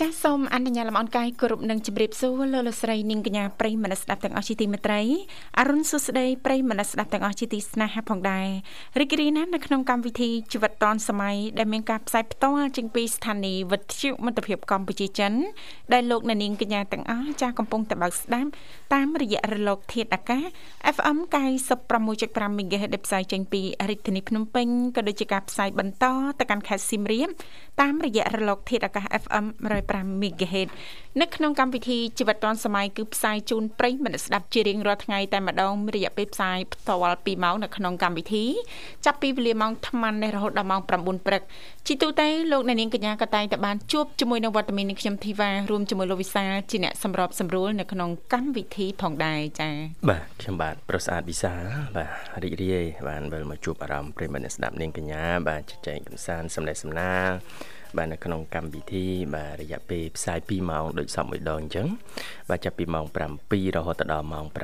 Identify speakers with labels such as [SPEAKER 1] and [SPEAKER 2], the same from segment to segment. [SPEAKER 1] ចាសសូមអនុញ្ញាតលំអរកាយគោរពនឹងជម្រាបសួរលោកលោកស្រីនាងកញ្ញាប្រិយមនស្សស្ដាប់ទាំងអស់ជាទីមេត្រីអរុនសុស្ដីប្រិយមនស្សស្ដាប់ទាំងអស់ជាទីស្នេហាផងដែររីករាយណាស់នៅក្នុងកម្មវិធីជីវិតឌွန်សម័យដែលមានការផ្សាយផ្ទាល់ចេញពីស្ថានីយ៍វិទ្យុមិត្តភាពកម្ពុជាចិនដែលលោកអ្នកនាងកញ្ញាទាំងអស់ចាសកំពុងតែបើកស្ដាប់តាមរយៈរលកធាតុអាកាស FM 96.5 MHz ដែលផ្សាយចេញពីរាជធានីភ្នំពេញក៏ដូចជាការផ្សាយបន្តទៅកាន់ខេត្តសៀមរាបតាមរយៈរលកធាតុអាកាស FM 105 MHz នៅក្នុងកម្មវិធីជីវិតឌွန်សម័យគឺផ្សាយជូនប្រិយមិត្តស្ដាប់ជារៀងរាល់ថ្ងៃតែម្ដងរយៈពេលផ្សាយផ្ទាល់2ម៉ោងនៅក្នុងកម្មវិធីចាប់ពីវេលាម៉ោង8:00នេះរហូតដល់ម៉ោង9ព្រឹកជីទូទៅលោកអ្នកនាងកញ្ញាក៏តែងតែបានជួបជាមួយនឹងវត្តមាននៃខ្ញុំធីវ៉ារួមជាមួយលោកវិសាលជាអ្នកសម្របសម្រួលនៅក្នុងកម្មវិធីផងដែរចា៎
[SPEAKER 2] បាទខ្ញុំបាទប្រុសស្អាតវិសាលបាទរីករាយបានវិលមកជួបអារម្មណ៍ប្រិយមិត្តអ្នកស្ដាប់នាងកញ្ញាបាទជជែកកម្សាន្តសម្ដែងសម្ណាលបាទនៅក្នុងកម្មវិធីបាទរយៈពេលផ្សាយ2ម៉ោងដូចសពមួយដងអញ្ចឹងបាទចាប់ពីម៉ោង7រហូតដល់ម៉ោង9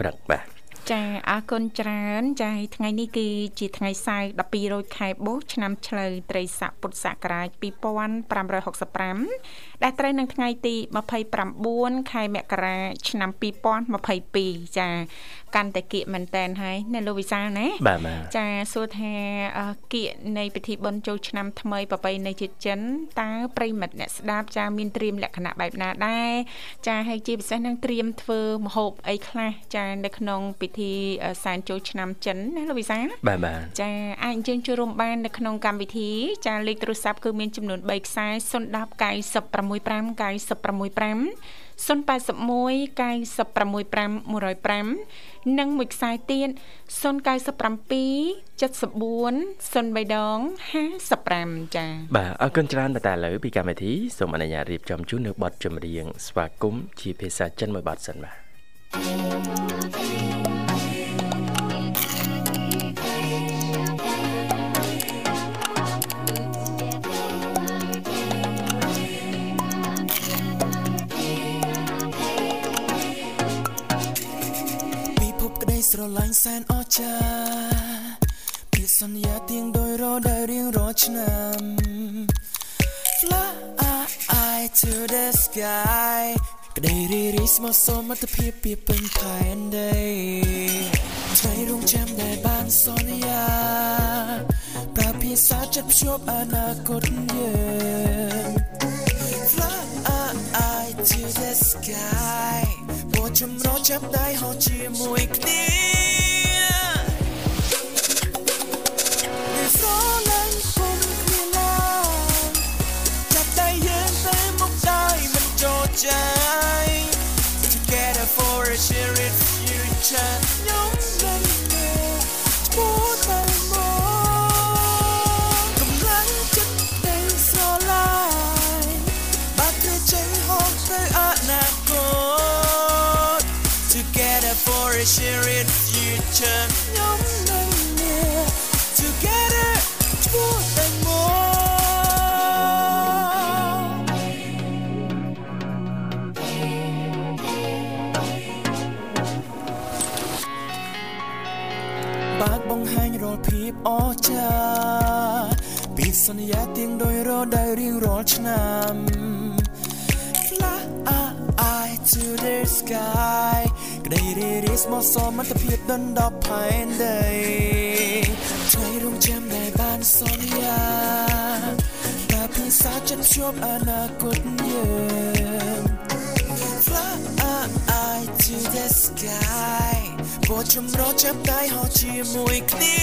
[SPEAKER 2] ព្រឹកបាទ
[SPEAKER 1] ចាអរគុណច្រើនចាថ្ងៃនេះគឺជាថ្ងៃសៅរ៍12រោចខែបុស្សឆ្នាំឆ្លូវត្រីស័កពុទ្ធសករាជ2565ដែលត្រូវនឹងថ្ងៃទី29ខែមករាឆ្នាំ2022ចាកាន់តែគៀកមែនតែនហើយណាលោកវិសាលណា
[SPEAKER 2] បាទបាទ
[SPEAKER 1] ចាសួរថាអឺគៀកនៃពិធីបុណ្យចូលឆ្នាំថ្មីប្របីនៃជាតិចិនតើប្រិមិត្តអ្នកស្ដាប់ចាមានត្រៀមលក្ខណៈបែបណាដែរចាហើយជាពិសេសនឹងត្រៀមធ្វើម្ហូបអីខ្លះចានៅក្នុងពិធីអឺសែនចូលឆ្នាំចិនណាលោកវិសាល
[SPEAKER 2] បាទបាទ
[SPEAKER 1] ចាអាចអញ្ជើញចូលរួមបាននៅក្នុងកម្មវិធីចាលេខទូរស័ព្ទគឺមានចំនួន3ខ្សែ010 965 965 081965105និងមួយខ្សែទៀត097 74 0355ចា
[SPEAKER 2] បាទអរគុណច្រើនបាទតែឥឡូវពីកម្មវិធីសូមអនុញ្ញាតរៀបចំជូននៅបទចម្រៀងស្វាគមន៍ជាភាសាចិនមួយបទសិនបាទ
[SPEAKER 3] ពីភពក្តីស្រឡាញ់សែនអស្ចារ្យពីសន្យាទៀងដោយរដែលរៀងរាល់ឆ្នាំ Fly to the sky ក្តីរីរីស្មោះសរមិត្តភាពពីពេញផែនដីថ្ងៃរុងចាំដែលបានសន្យាប្រើភាសាចិត្តភ្ជាប់អនាគតយើង Fly to the sky បោះចម្រោះចាប់ដៃហោះជាមួយគ្នា ស្រឡាញ់គុំគ្នាឡើយចាប់ដៃយើងទៅមុខដោយមិនចូលចា Together for a shared future ខ្ញុំនឹងមើលឈ្មោះតែមកកម្លាំងចិត្តដែលស្រឡាញ់ But the chain holds the anacon Together for a shared future ខ្ញុំនឹងងារ Together ឈ្មោះតែមួយ បើកបង្ហាញរាល់ភាពអស្ចារ្យពីសន្យាទៀងដោយរដូវរៀងរាល់ឆ្នាំ Fly to the sky ក្តីរីរីស្មោះសរមិត្តភាពដណ្ដប់ផែនដីថ្ងៃរំចាំដែលបានសន្យាតែភាសាចិត្តភ្ជាប់អនាគតយើង Fly to the sky បោះចម្រោះចាប់ដៃហោះជាមួយគ្នា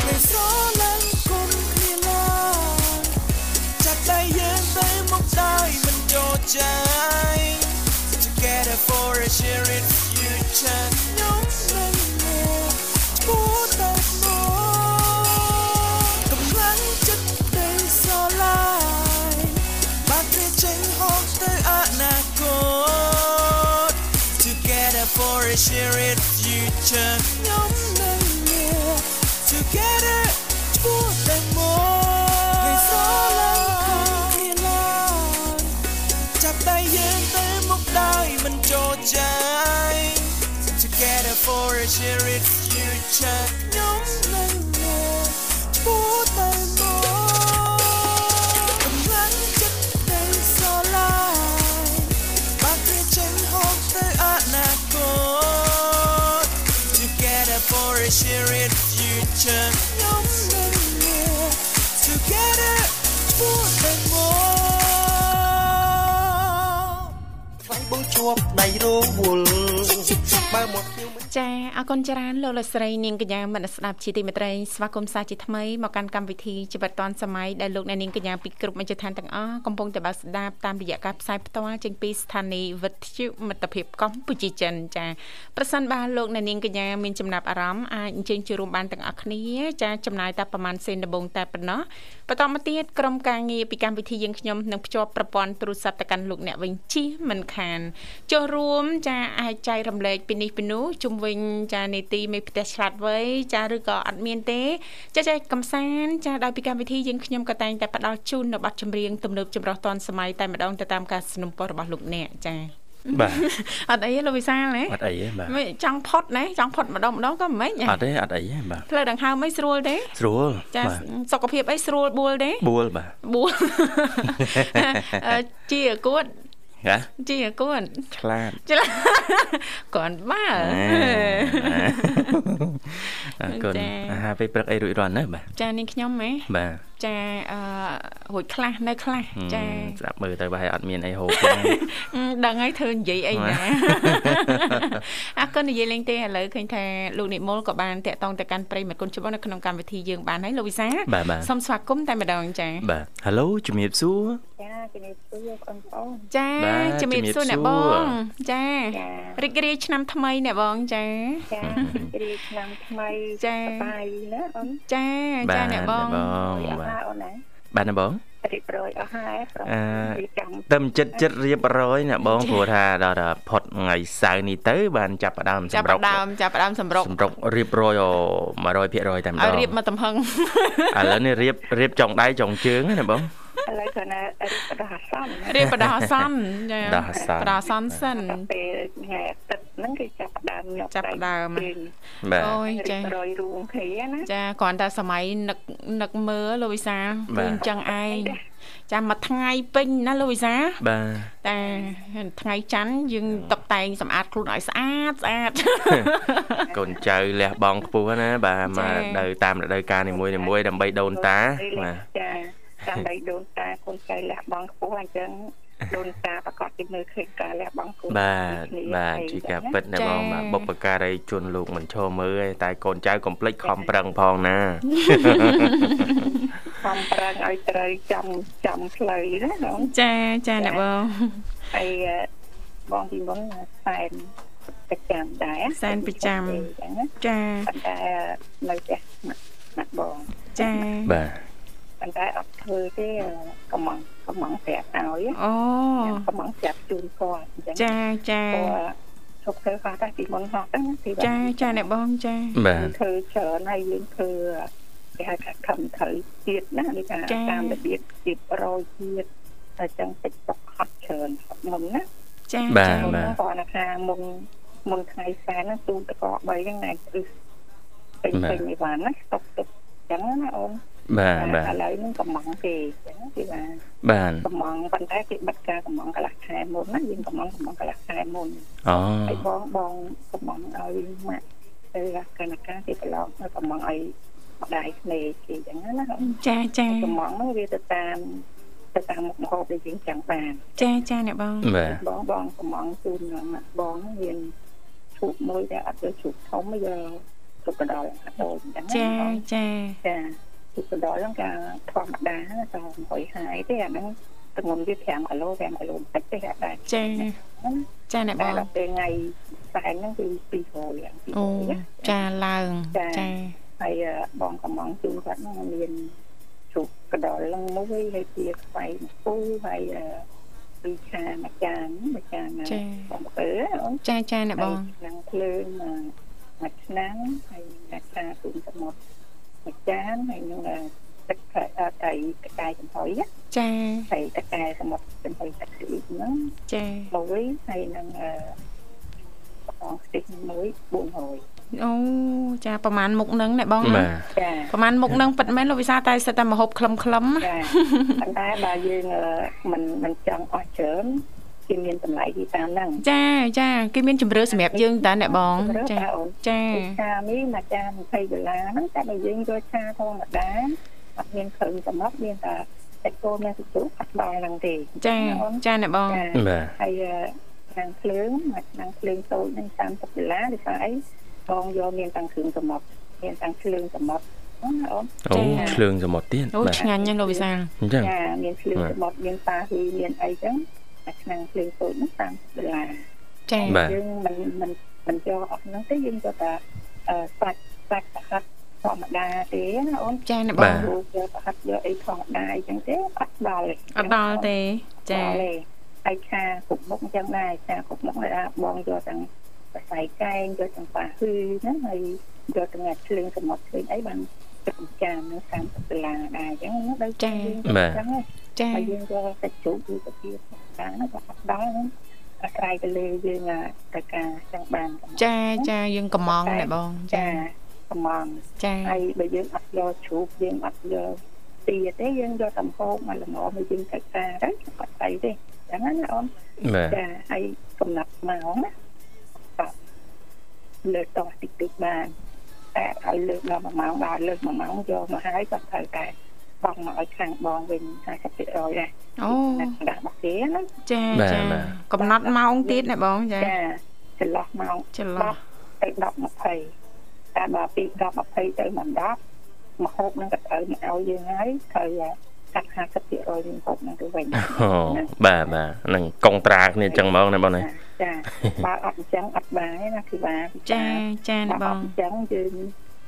[SPEAKER 3] ពេលស្រឡាញ់គុំគ្នាឡើយចាប់ដៃយើងទៅមុខដោយមិនចូលចា Together for a shared future ខ្ញុំនឹងមកឈ្មោះតែមកកម្លាំងចិត្តដែលស្រឡាញ់ But reaching hope to anacon sharing future nhóm nâng nghĩa together buốt tay môi ngày gió lăn không kia lan chắp tay hướng tới một đời mình trôi chảy together for a shared future nhóm nâng nghĩa buốt tay môi cầm lắng chất đầy gió lại บางทีฉันหอบเธออาณาคต Together for a shared future ย้อมนั่นเมื่อ Together for the more
[SPEAKER 4] ថ្លៃបងជួបដៃរងវល់បើមកខ្ញុំមិន
[SPEAKER 1] ចាអរគុណច្រើនលោកលោកស្រីនាងកញ្ញាមនស្ដាប់ជាទីមេត្រីស្វាគមន៍សាជាថ្មីមកកាន់កម្មវិធីជីវិតឌွန်សម័យដែលលោកអ្នកនាងកញ្ញាពីគ្រប់មជ្ឈដ្ឋានទាំងអស់កំពុងតែបើកស្ដាប់តាមរយៈការផ្សាយផ្ទាល់ចេញពីស្ថានីយ៍វិទ្យុមិត្តភាពកម្ពុជាចិនចាប្រសិនបើលោកអ្នកនាងកញ្ញាមានចំណាប់អារម្មណ៍អាចអញ្ជើញចូលរួមបានទាំងអស់គ្នាចាចំណាយតែប្រហែលសេនដំបងតែប៉ុណ្ណោះបន្តមកទៀតក្រុមការងារពីកម្មវិធីយើងខ្ញុំនឹងភ្ជាប់ប្រព័ន្ធទូរស័ព្ទទៅកាន់លោកអ្នកវិញជិះមិនខានចូលរួមចាអាចចែករំលែកពីនេះពីនោះជុំវិញចានីតិមេផ្ទះឆ្លាតវៃចាឬក៏អត់មានទេចាចែកកំសាន្តចាដោយពីកម្មវិធីយើងខ្ញុំក៏តែងតែផ្ដល់ជូន នៅប័ណ្ណចម្រៀងទំនើបចម្រោះតនសម័យតែម្ដងទៅតាមការสนับสนุนរបស់លោកអ្នកចា
[SPEAKER 2] បាទ
[SPEAKER 1] អត់អីទេលោកវិសាលណា
[SPEAKER 2] អត់អីទេបាទ
[SPEAKER 1] មិនចង់ផុតណាចង់ផុតម្ដងម្ដងក៏មិនហ្មង
[SPEAKER 2] អត់ទេអត់អីទេបាទ
[SPEAKER 1] ផ្លូវដង្ហើមអីស្រួលទេ
[SPEAKER 2] ស្រួល
[SPEAKER 1] ចា
[SPEAKER 2] បាទ
[SPEAKER 1] សុខភាពអីស្រួលបួលទេ
[SPEAKER 2] បួលបាទ
[SPEAKER 1] បួល អឺជាគួត
[SPEAKER 2] ណា
[SPEAKER 1] ជាគួត
[SPEAKER 2] ឆ្លាត
[SPEAKER 1] ច្រឡា គាត់បាល់
[SPEAKER 2] អរគុណ
[SPEAKER 1] ចា៎
[SPEAKER 2] អាហារពេលព្រឹកអីរួចរាល់ណាស់បាទ
[SPEAKER 1] ចានាងខ្ញុំហ៎
[SPEAKER 2] បាទ
[SPEAKER 1] ចាអឺរួចខ្លះនៅខ្លះចា
[SPEAKER 2] ហឹមស្ដាប់មើលទៅប្រហែលអត់មានអីហូបទេ
[SPEAKER 1] អឺដឹងហើយធ្វើនិយាយអីណា អរគុណនិយាយលេងទេឥឡូវឃើញថាលោកនិមលក៏បានតាក់ទងទៅកាន់ប្រិយមិត្តគុណច្បាស់នៅក្នុងកម្មវិធីយើងបានហើយលោកវិសា
[SPEAKER 2] បាទបាទ
[SPEAKER 1] សូមស្វាគមន៍តែម្ដងចា
[SPEAKER 2] បាទ Halo ជំរាបសួរ
[SPEAKER 5] ចាជំរាបសួរបងប្អូន
[SPEAKER 1] ចា
[SPEAKER 2] បាទ
[SPEAKER 1] ជំរាបសួរ
[SPEAKER 2] ជំរាប
[SPEAKER 1] អ្នក
[SPEAKER 2] សួ
[SPEAKER 1] ប
[SPEAKER 2] រ
[SPEAKER 1] ងចា
[SPEAKER 5] ចា
[SPEAKER 1] រីករាយឆ្នាំថ្មីអ្នកបងចា
[SPEAKER 5] ចារីកឆ្នាំថ្មី
[SPEAKER 1] ចា
[SPEAKER 5] សប្បាយណាអូន
[SPEAKER 1] ចាចាអ្នកបង
[SPEAKER 2] បង
[SPEAKER 5] អស់
[SPEAKER 2] បាទ
[SPEAKER 5] ហើយអូនណា
[SPEAKER 2] បាទណាបង
[SPEAKER 5] រីករាយអស់ហើយប្រហែ
[SPEAKER 2] អឺ
[SPEAKER 5] លរីករាយ
[SPEAKER 2] តឹមចិត្តចិត្តរៀបរយណាបងព្រោះថាដល់ដល់ផុតថ្ងៃសៅរ៍នេះទៅបានចាប់ផ្ដើម
[SPEAKER 1] ចាប់
[SPEAKER 2] សម្រុក
[SPEAKER 1] ផ្ដើមចាប់ផ្ដើមសម្រុក
[SPEAKER 2] សម្រុករៀបរយ100%តែម្ដ
[SPEAKER 1] ឲ្យ
[SPEAKER 2] ងឥ
[SPEAKER 1] រៀបមកទំហឹង
[SPEAKER 2] ឡូវនេះរៀបរៀបចុងដៃចុងជើងហ្នឹងណាបង
[SPEAKER 5] ឥឡូវគ្រាន់តែរីករាយអាសន្ន
[SPEAKER 1] រៀបបដោះអាសន្នចា
[SPEAKER 2] បដោះអាសន្ន
[SPEAKER 1] បដោះអាសន្នសិន
[SPEAKER 5] ដល់ពេលថ្ងៃអាទិត្យហ្នឹងគឺចាប់ផ្ដើមញាប់
[SPEAKER 1] ចាប់ផ្ដើម
[SPEAKER 5] ជើង
[SPEAKER 2] បាទ
[SPEAKER 1] អូយ
[SPEAKER 5] រី
[SPEAKER 1] ចា
[SPEAKER 5] ករាយរួមគ្នាណា
[SPEAKER 1] ចាគ្រាន់តែសម័យនឹកនឹកមើលលោកវិសា
[SPEAKER 2] បា
[SPEAKER 1] ព្រោះ
[SPEAKER 2] ទ
[SPEAKER 1] អញ្ចឹងឯងចាមួយថ្ងៃពេញណាលោកវិសា
[SPEAKER 2] បាទ
[SPEAKER 1] តែថ្ងៃច័ន្ទយើងតុបតែងសម្អាតខ្លួនឲ្យស្អាតស្អា ត
[SPEAKER 2] កូនចៅលះបងខ្ពស់ណាបាទ
[SPEAKER 1] ចា៎
[SPEAKER 2] មករដូវតាមរដូវកាលនីមួយនីមួយៗដើម្បីដូនតាបាទ
[SPEAKER 5] ចាតាមដៃដូនតាកូនចៅលះបងខ្ពស់អញ្ចឹង ដូនតាប្រកបពីមើលឃើញការលះបង់ខ្លួន
[SPEAKER 2] បាទ
[SPEAKER 5] គ្នា
[SPEAKER 2] បាទ
[SPEAKER 5] អី
[SPEAKER 2] ជា
[SPEAKER 5] ចឹ
[SPEAKER 2] កា
[SPEAKER 5] ង
[SPEAKER 2] រ
[SPEAKER 5] ណា
[SPEAKER 2] ពិតណា
[SPEAKER 1] ចា៎
[SPEAKER 2] បងបាទបុព្វការីជនលោកមិនឈរមើលឯងតែកូនចៅកុំភ្លេចខំប្រឹងផងណា
[SPEAKER 5] ខំប្រឹងឲ្យត្រូវចាំចាំផ្លូវណាបង
[SPEAKER 1] ចាចាអ្នកបង
[SPEAKER 5] ហើយអឺបងពីមុនសែនប្រចាំដែរ
[SPEAKER 1] សែនប្រចាំ
[SPEAKER 5] អញ្ចឹងណា
[SPEAKER 1] ចា
[SPEAKER 5] ប៉ុន្តែនៅផ្ទះណាស់បង
[SPEAKER 1] ចា
[SPEAKER 2] បាទ
[SPEAKER 5] ប៉ុន្តែអត់ធ្វើទេកំងកំងប្រាប់ឲ្យ
[SPEAKER 1] អូ
[SPEAKER 5] កំងប្រាប់ជូនគាត់អញ្ចឹង
[SPEAKER 1] ចាចា
[SPEAKER 5] គាត់ជប់ធ្វើគាត់តែពីមុនហត់ហ្នឹងណាពី
[SPEAKER 1] ចាចាអ្នកបងចា
[SPEAKER 2] បាទ
[SPEAKER 5] ធ្វើច្រើនហើយយើងធ្វើគេហៅថាខំត្រូវទៀតណាគេថាតាមរបៀបទៀតរយទៀតតែចឹងតិចទុកហត់ច្រើនហត់មុនណា
[SPEAKER 1] ចា
[SPEAKER 2] បាទ
[SPEAKER 1] ចា
[SPEAKER 5] មុនហ្នឹងគាត់នៅថាមុនមុនថ្ងៃសែនហ្នឹងទូតក3ហ្នឹងណាគឺពេញ
[SPEAKER 2] បាទ
[SPEAKER 5] ពេញអីវ៉ាន់ណាស្តុកទុកអញ្ចឹងណាអូន
[SPEAKER 2] បាទបា
[SPEAKER 5] ឥ
[SPEAKER 2] ទ
[SPEAKER 5] ឡូវហ្នឹងកំងទេអញ្ចឹងគេថា
[SPEAKER 2] បាទ
[SPEAKER 5] កំងប៉ុន្តែគេបិទការកំងកន្លះខែមុនណាយើងកំងកំងកន្លះខែមុន
[SPEAKER 2] អូ
[SPEAKER 5] ហើយបងបងកំងឲ្យម៉ាក់ទៅរកកណ្ណការគេប្រឡងទៅកំងឲ្យម្ដាយស្នេហ៍គេអញ្ចឹងណាអូន
[SPEAKER 1] ចាចា
[SPEAKER 5] កំងហ្នឹងវាទៅតាមទៅតាមមុខម្ហូបដែលយើងចង់បាន
[SPEAKER 1] ចាចាអ្នកបង
[SPEAKER 2] បាទ
[SPEAKER 5] បងបងកំងជូនដល់ម៉ាក់បងហ្នឹងមានឈូកមួយដែលអត់ទៅឈូកធំយកទុកកណ្ដុលអាដូនអញ្ចឹ
[SPEAKER 1] ចា
[SPEAKER 5] ង
[SPEAKER 1] ចា
[SPEAKER 5] ចាទុកកណ្ដុលហ្នឹងកាធម្មតាណាតែ100ហាយទេអាហ្នឹងទម្ងន់វា5គីឡូ5គីឡូបន្តិចទេអាចដែរ
[SPEAKER 1] ចាចាអ្នកប
[SPEAKER 5] តែ
[SPEAKER 1] ង
[SPEAKER 5] ដល់ពេលថ្ងៃសែនហ្នឹងគឺ200យ៉ាង200
[SPEAKER 1] អូ
[SPEAKER 5] ណា
[SPEAKER 1] ចាឡើង
[SPEAKER 5] ចា
[SPEAKER 1] ចា
[SPEAKER 5] ហើយអឺបងកំងជូនគាត់ហ្នឹងមានឈូកកណ្ដុលហ្នឹងមួយហើយជាស្បៃមួយហើយអឺ ពីរខាងមួយចានមួយចានណា
[SPEAKER 1] ចា
[SPEAKER 5] បងពើអូន
[SPEAKER 1] ចាចាអ្នកបង
[SPEAKER 5] ហើយឆ្នាំងភ្លើងមួយមួយឆ្នាំងហើយអ្នកថាទូនសមុទ្រមួយចានហើយនឹងទឹកកែតៃតកែចំហុយណា
[SPEAKER 1] ចា
[SPEAKER 5] ហើយតកែសមុទ្រចំហុយទឹកស្អ៊ីកហ្នឹង
[SPEAKER 1] ចា
[SPEAKER 5] មួយហើយនឹងអឺបងស្ទីកមួយ400
[SPEAKER 1] អូចាប្រហែលមុខហ្នឹងអ្នកបងណា
[SPEAKER 2] បាទ
[SPEAKER 5] ចា
[SPEAKER 1] ប្រហែលមុខហ្នឹងពិតមែនលោកវិសាលតែសិតតែមហូបខ្លឹមខ្លឹមៗណា
[SPEAKER 5] ចាប៉ុន្តែបើយើងអឺមិនមិនចង់អស់ច្រើនគឺមានតម្លៃទីតាមហ្នឹង
[SPEAKER 1] ចាចាគេមានជំរឿសម្រាប់យើងតាអ្នកបង
[SPEAKER 5] រើស
[SPEAKER 1] ចា
[SPEAKER 5] បើអូន
[SPEAKER 1] ចា
[SPEAKER 5] ចានេះមួយចា20ដុល្លារហ្នឹងតែបើយើងយកឆាធម្មតាអត់មានគ្រឿងសម្រាប់មានតែតែគោលមានសុជុអត់ដល់ហ្នឹងទេ
[SPEAKER 1] ចាចាអ្នកបង
[SPEAKER 5] ចា
[SPEAKER 2] បាទ
[SPEAKER 5] ហើយអឺឆ្នាំងភ្លើងមួយឆ្នាំងភ្លើងតូចហ្នឹង30ដុល្លារដូចថាអីបងយកមានទាំងគ្រឿងសម្រាប់មានទាំងភ្លើងសម្រាប់អូណាអូន
[SPEAKER 2] អូឆ្លើងសមុទ្រទៀត
[SPEAKER 1] អូ
[SPEAKER 2] បាទ
[SPEAKER 1] ឆ្ងាញ់ណាស់លោកវិសាល
[SPEAKER 2] អញ្ចឹង
[SPEAKER 5] ចាមានភ្លើង
[SPEAKER 2] បាទ
[SPEAKER 5] សមុទ្រមានប៉ាហ៊ីមានអីចឹងតែឆ្នាំងភ្លើងតូចហ្នឹង30ដុល្លារ
[SPEAKER 1] ចា
[SPEAKER 2] បាទ
[SPEAKER 5] យើងមិនមិនមិនយកអស់ហ្នឹងទេយើងគាត់ថាអឺសាច់សាច់ប្រហិតធម្មតាទេណាអូន
[SPEAKER 1] ចាអ្នកប
[SPEAKER 2] បា
[SPEAKER 1] ង
[SPEAKER 2] ទ
[SPEAKER 5] ព្រោះយកប្រហិតយកអីធម្មតាអីចឹងទេអត់ដល់ទេ
[SPEAKER 1] អត់ដល់ទេចា
[SPEAKER 5] អត់ទេហើយឆាគ្រប់មុខចឹងដែរឆាគ្រប់មុខដែរបងយកទាំងប្រស័យកែងយកទាំងប៉ាហ៊ីហ្នឹងហើយយកទាំងអាភ្លើងសមុទ្រភ្លើងអីបានទឹកចាមហ្នឹង30ដុល្លារដែរចឹងណាដូចយើងយក
[SPEAKER 2] បាទ
[SPEAKER 5] ចឹងណា
[SPEAKER 1] ចា
[SPEAKER 5] ហើយយើងយកសាច់ជ្រូកឬសាច់ទាខាងហ្នឹងក៏អត់ដល់ហ្នឹងអាស្រ័យទៅលើយើងអាទៅការចង់បានប៉ុណ្ណា
[SPEAKER 1] ចាចាយើងកំងអ្នកបងចា
[SPEAKER 5] ចាកំង
[SPEAKER 1] ចា
[SPEAKER 5] ហើយបើយើងអត់យកជ្រូកយើងអត់យកទាទេយើងយកតែម្ហូបមកល្មមឲ្យយើងទៅការទៅអត់ស្អីទេចឹងណាណាអូន
[SPEAKER 2] បាទ
[SPEAKER 5] ចាហើយកំណត់ម៉ោងណាតោះលើតោះតិចតិចបានតែឲ្យលើដល់1ម៉ោងដល់លើ1ម៉ោងយកមកហើយក៏ត្រូវតែបង់មកឲ្យខាងបងវិញ50%ដែរ
[SPEAKER 1] អូ
[SPEAKER 5] ដាក់របស់គេណា
[SPEAKER 1] ចាចាកំណត់ម៉ោងទៀតអ្នកបងចា
[SPEAKER 5] ចាចន្លោះម៉ោង
[SPEAKER 1] ច្រឡោះ
[SPEAKER 5] 10ទៅ10 20តែបើពី10 20ទៅមិន10មហូបហ្នឹងក៏ត្រូវមកឲ្យយើងហើយត្រូវកាត់50%យើងហូបហ្នឹងទៅវិញ
[SPEAKER 2] អូបាទបាទហ្នឹងកងត្រាគ្នាអញ្ចឹងហ្មងណាបងណា
[SPEAKER 5] ចាបើអត់អញ្ចឹងអត់បានទេណាគឺបាន
[SPEAKER 1] ចាចាអ្នកប
[SPEAKER 5] បើអ
[SPEAKER 1] ង
[SPEAKER 5] ត់អញ្ចឹងយើង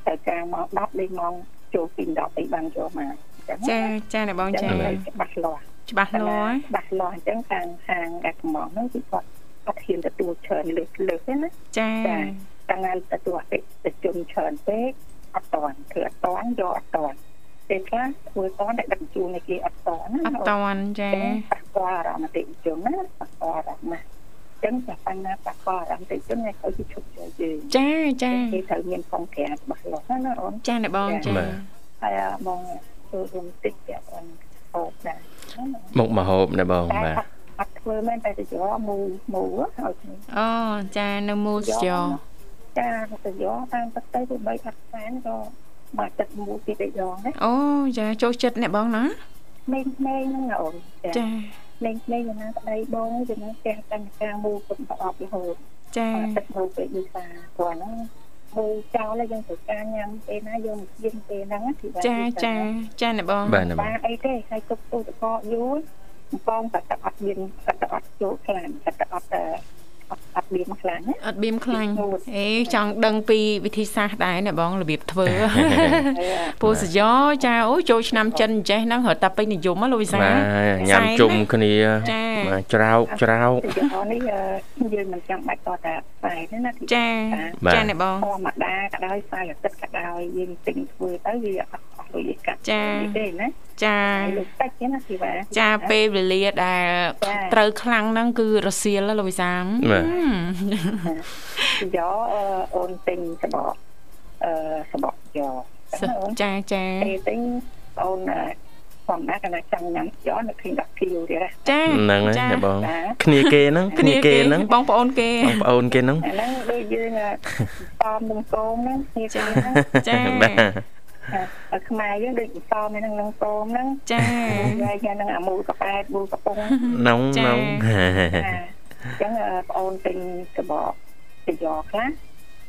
[SPEAKER 5] ត្រូវការម៉ោង10លេងម៉ោងចូលពី10អីបានចូលមកអញ្
[SPEAKER 1] ចាចាអ្នកបង
[SPEAKER 5] អញ្ចឹ
[SPEAKER 1] ចា
[SPEAKER 5] ងត្រូវច្បាស់លាស់
[SPEAKER 1] ច្បាស់លាស់
[SPEAKER 5] បាក់លាស់អញ្ចឹងខាងខាងកាក់កំងហ្នឹងគឺគាត់គាត់ហ៊ានទទួលច្រើនលើសលើសទេណា
[SPEAKER 1] ចា
[SPEAKER 5] តាំងតែទទួលអតិថិជនច្រើនពេកអត់តាន់គឺអត់តាន់យកអត់តាន់ពេលខ្លះធ្វើតាន់តែដឹកជញ្ជូនឲ្យគេអត់តាន់ណា
[SPEAKER 1] អត់តន់ចា
[SPEAKER 5] អញ្ចឹងប៉ះពាល់អារម្មណ៍អតិថិជនណាប៉ះពាល់អារម្មណ៍ណាស់អញ្ចឹងចាស់បញ្ហាប៉ះពាល់អារម្មណ៍អតិថិជនគេឲ្យគេឈប់ជួយយើង
[SPEAKER 1] ចាចា
[SPEAKER 5] គេត្រូវមានកងក្រានច្បាស់លាស់ណាណាអូន
[SPEAKER 1] ចាអ្នកបងចា
[SPEAKER 5] ហើយអាបងចូលរួមតិចទៀតអូនអូបដែរណាណា
[SPEAKER 2] មុខមហូបណាបង
[SPEAKER 5] តែ
[SPEAKER 2] បាទ
[SPEAKER 5] អត់ធ្វើមែនតែទៅយកមូមូឲ្យខ្ញុំ
[SPEAKER 1] អូចានៅមូលស្យោ
[SPEAKER 5] ចាទៅយកតាមទឹកទៅទៅបីអត់ស្អានក៏មកទឹកមូទីទៅយកណា
[SPEAKER 1] អូចាចូលចិត្តអ្នកបងណា
[SPEAKER 5] ក្មេងៗហ្នឹងណាអូនចា
[SPEAKER 1] ចា
[SPEAKER 5] ក្មេងៗយ៉ាងណាក្ដីបងយ៉ាងណាផ្ទះតាំងការមូគុំប្រអប់រហូត
[SPEAKER 1] ចា
[SPEAKER 5] មកទឹកមូទៅយីសាព្រោះហ្នឹងមូចោលហើយយើងត្រូវការញ៉ាំពេលណាយកមកជាពេលហ្នឹងណាគឺបាន
[SPEAKER 1] ចា
[SPEAKER 5] យីសា
[SPEAKER 1] ចាចាអ្នកបង
[SPEAKER 2] បាទណាប
[SPEAKER 5] បា
[SPEAKER 2] ង
[SPEAKER 5] នអីទេហើយទុកទូទឹកកកយូរកំប៉ុងតែទឹកអត់មានទឹកអត់ចូលខ្លាំងទឹកអត់អឺអត់មានខ្លាំងណា
[SPEAKER 1] អត់បៀមខ្លាញ់អេចង់ដឹងពីវិធីសាស្ត្រដែរអ្នកបងរបៀបធ្វើ ពូសយោចាអូចូលឆ្នាំចិនអញ្ចេះហ្នឹងរត់តែពេញនិយមណាលោកវិសាល
[SPEAKER 2] បាទញ៉ាំជុំគ្នា
[SPEAKER 1] ចា
[SPEAKER 2] បាទច្រោកច្រោក
[SPEAKER 5] ពីយន្តនេះអឺយើងមិនចាំបាច់តតែផ្សាយទេណា
[SPEAKER 1] ចា
[SPEAKER 2] បាទ
[SPEAKER 1] ចាអ្នកបង
[SPEAKER 5] ធម្មតាក៏ដោយផ្សាយអាទិត្យក៏ដោយយើងទិញធ្វើទៅវាអត់អស់លុយកាត់
[SPEAKER 1] ចា
[SPEAKER 5] ទេណា
[SPEAKER 1] ចា
[SPEAKER 5] ហើយលុយតិចទេណាពីវ៉ា
[SPEAKER 1] ចាពេលវេលាដែល
[SPEAKER 5] ចា
[SPEAKER 1] ត្រូវខ្លាំងហ្នឹងគឺរសៀលណាលោកវិសាល
[SPEAKER 2] បាទ
[SPEAKER 5] ពីយន្តអឺអូនទិញសបកអឺសបកយក
[SPEAKER 1] សោះចាចា
[SPEAKER 5] ពេលទិញអូនអឺធម្មតាកណាចង់ញ៉ាំយកនៅឃើញ10គីឡូទៀតណា
[SPEAKER 1] ចា
[SPEAKER 2] ហ្នឹងហើយ
[SPEAKER 1] ចា
[SPEAKER 2] ណាបងគ្នាគេហ្នឹងគ្នាគេហ្នឹង
[SPEAKER 1] បងប្អូនគេ
[SPEAKER 2] បងប្អូនគេហ្នឹង
[SPEAKER 5] អាហ្នឹងដូចយើងអឺតំនឹងកូនហ្នឹងគ្នាគ្នាហ្នឹង
[SPEAKER 1] ចា
[SPEAKER 2] បាទ
[SPEAKER 5] អាខ្មែរយើងដូចតំឯហ្នឹងនឹងកូនហ្នឹង
[SPEAKER 1] ចា
[SPEAKER 5] ហើយយ៉ាងហ្នឹងអាមូលកប៉ែតមូលកប៉ុង
[SPEAKER 2] នង
[SPEAKER 1] ចា
[SPEAKER 2] នង
[SPEAKER 5] ចាអញ្ចឹងអឺបងអូនទិញសបកសយោខ្លះ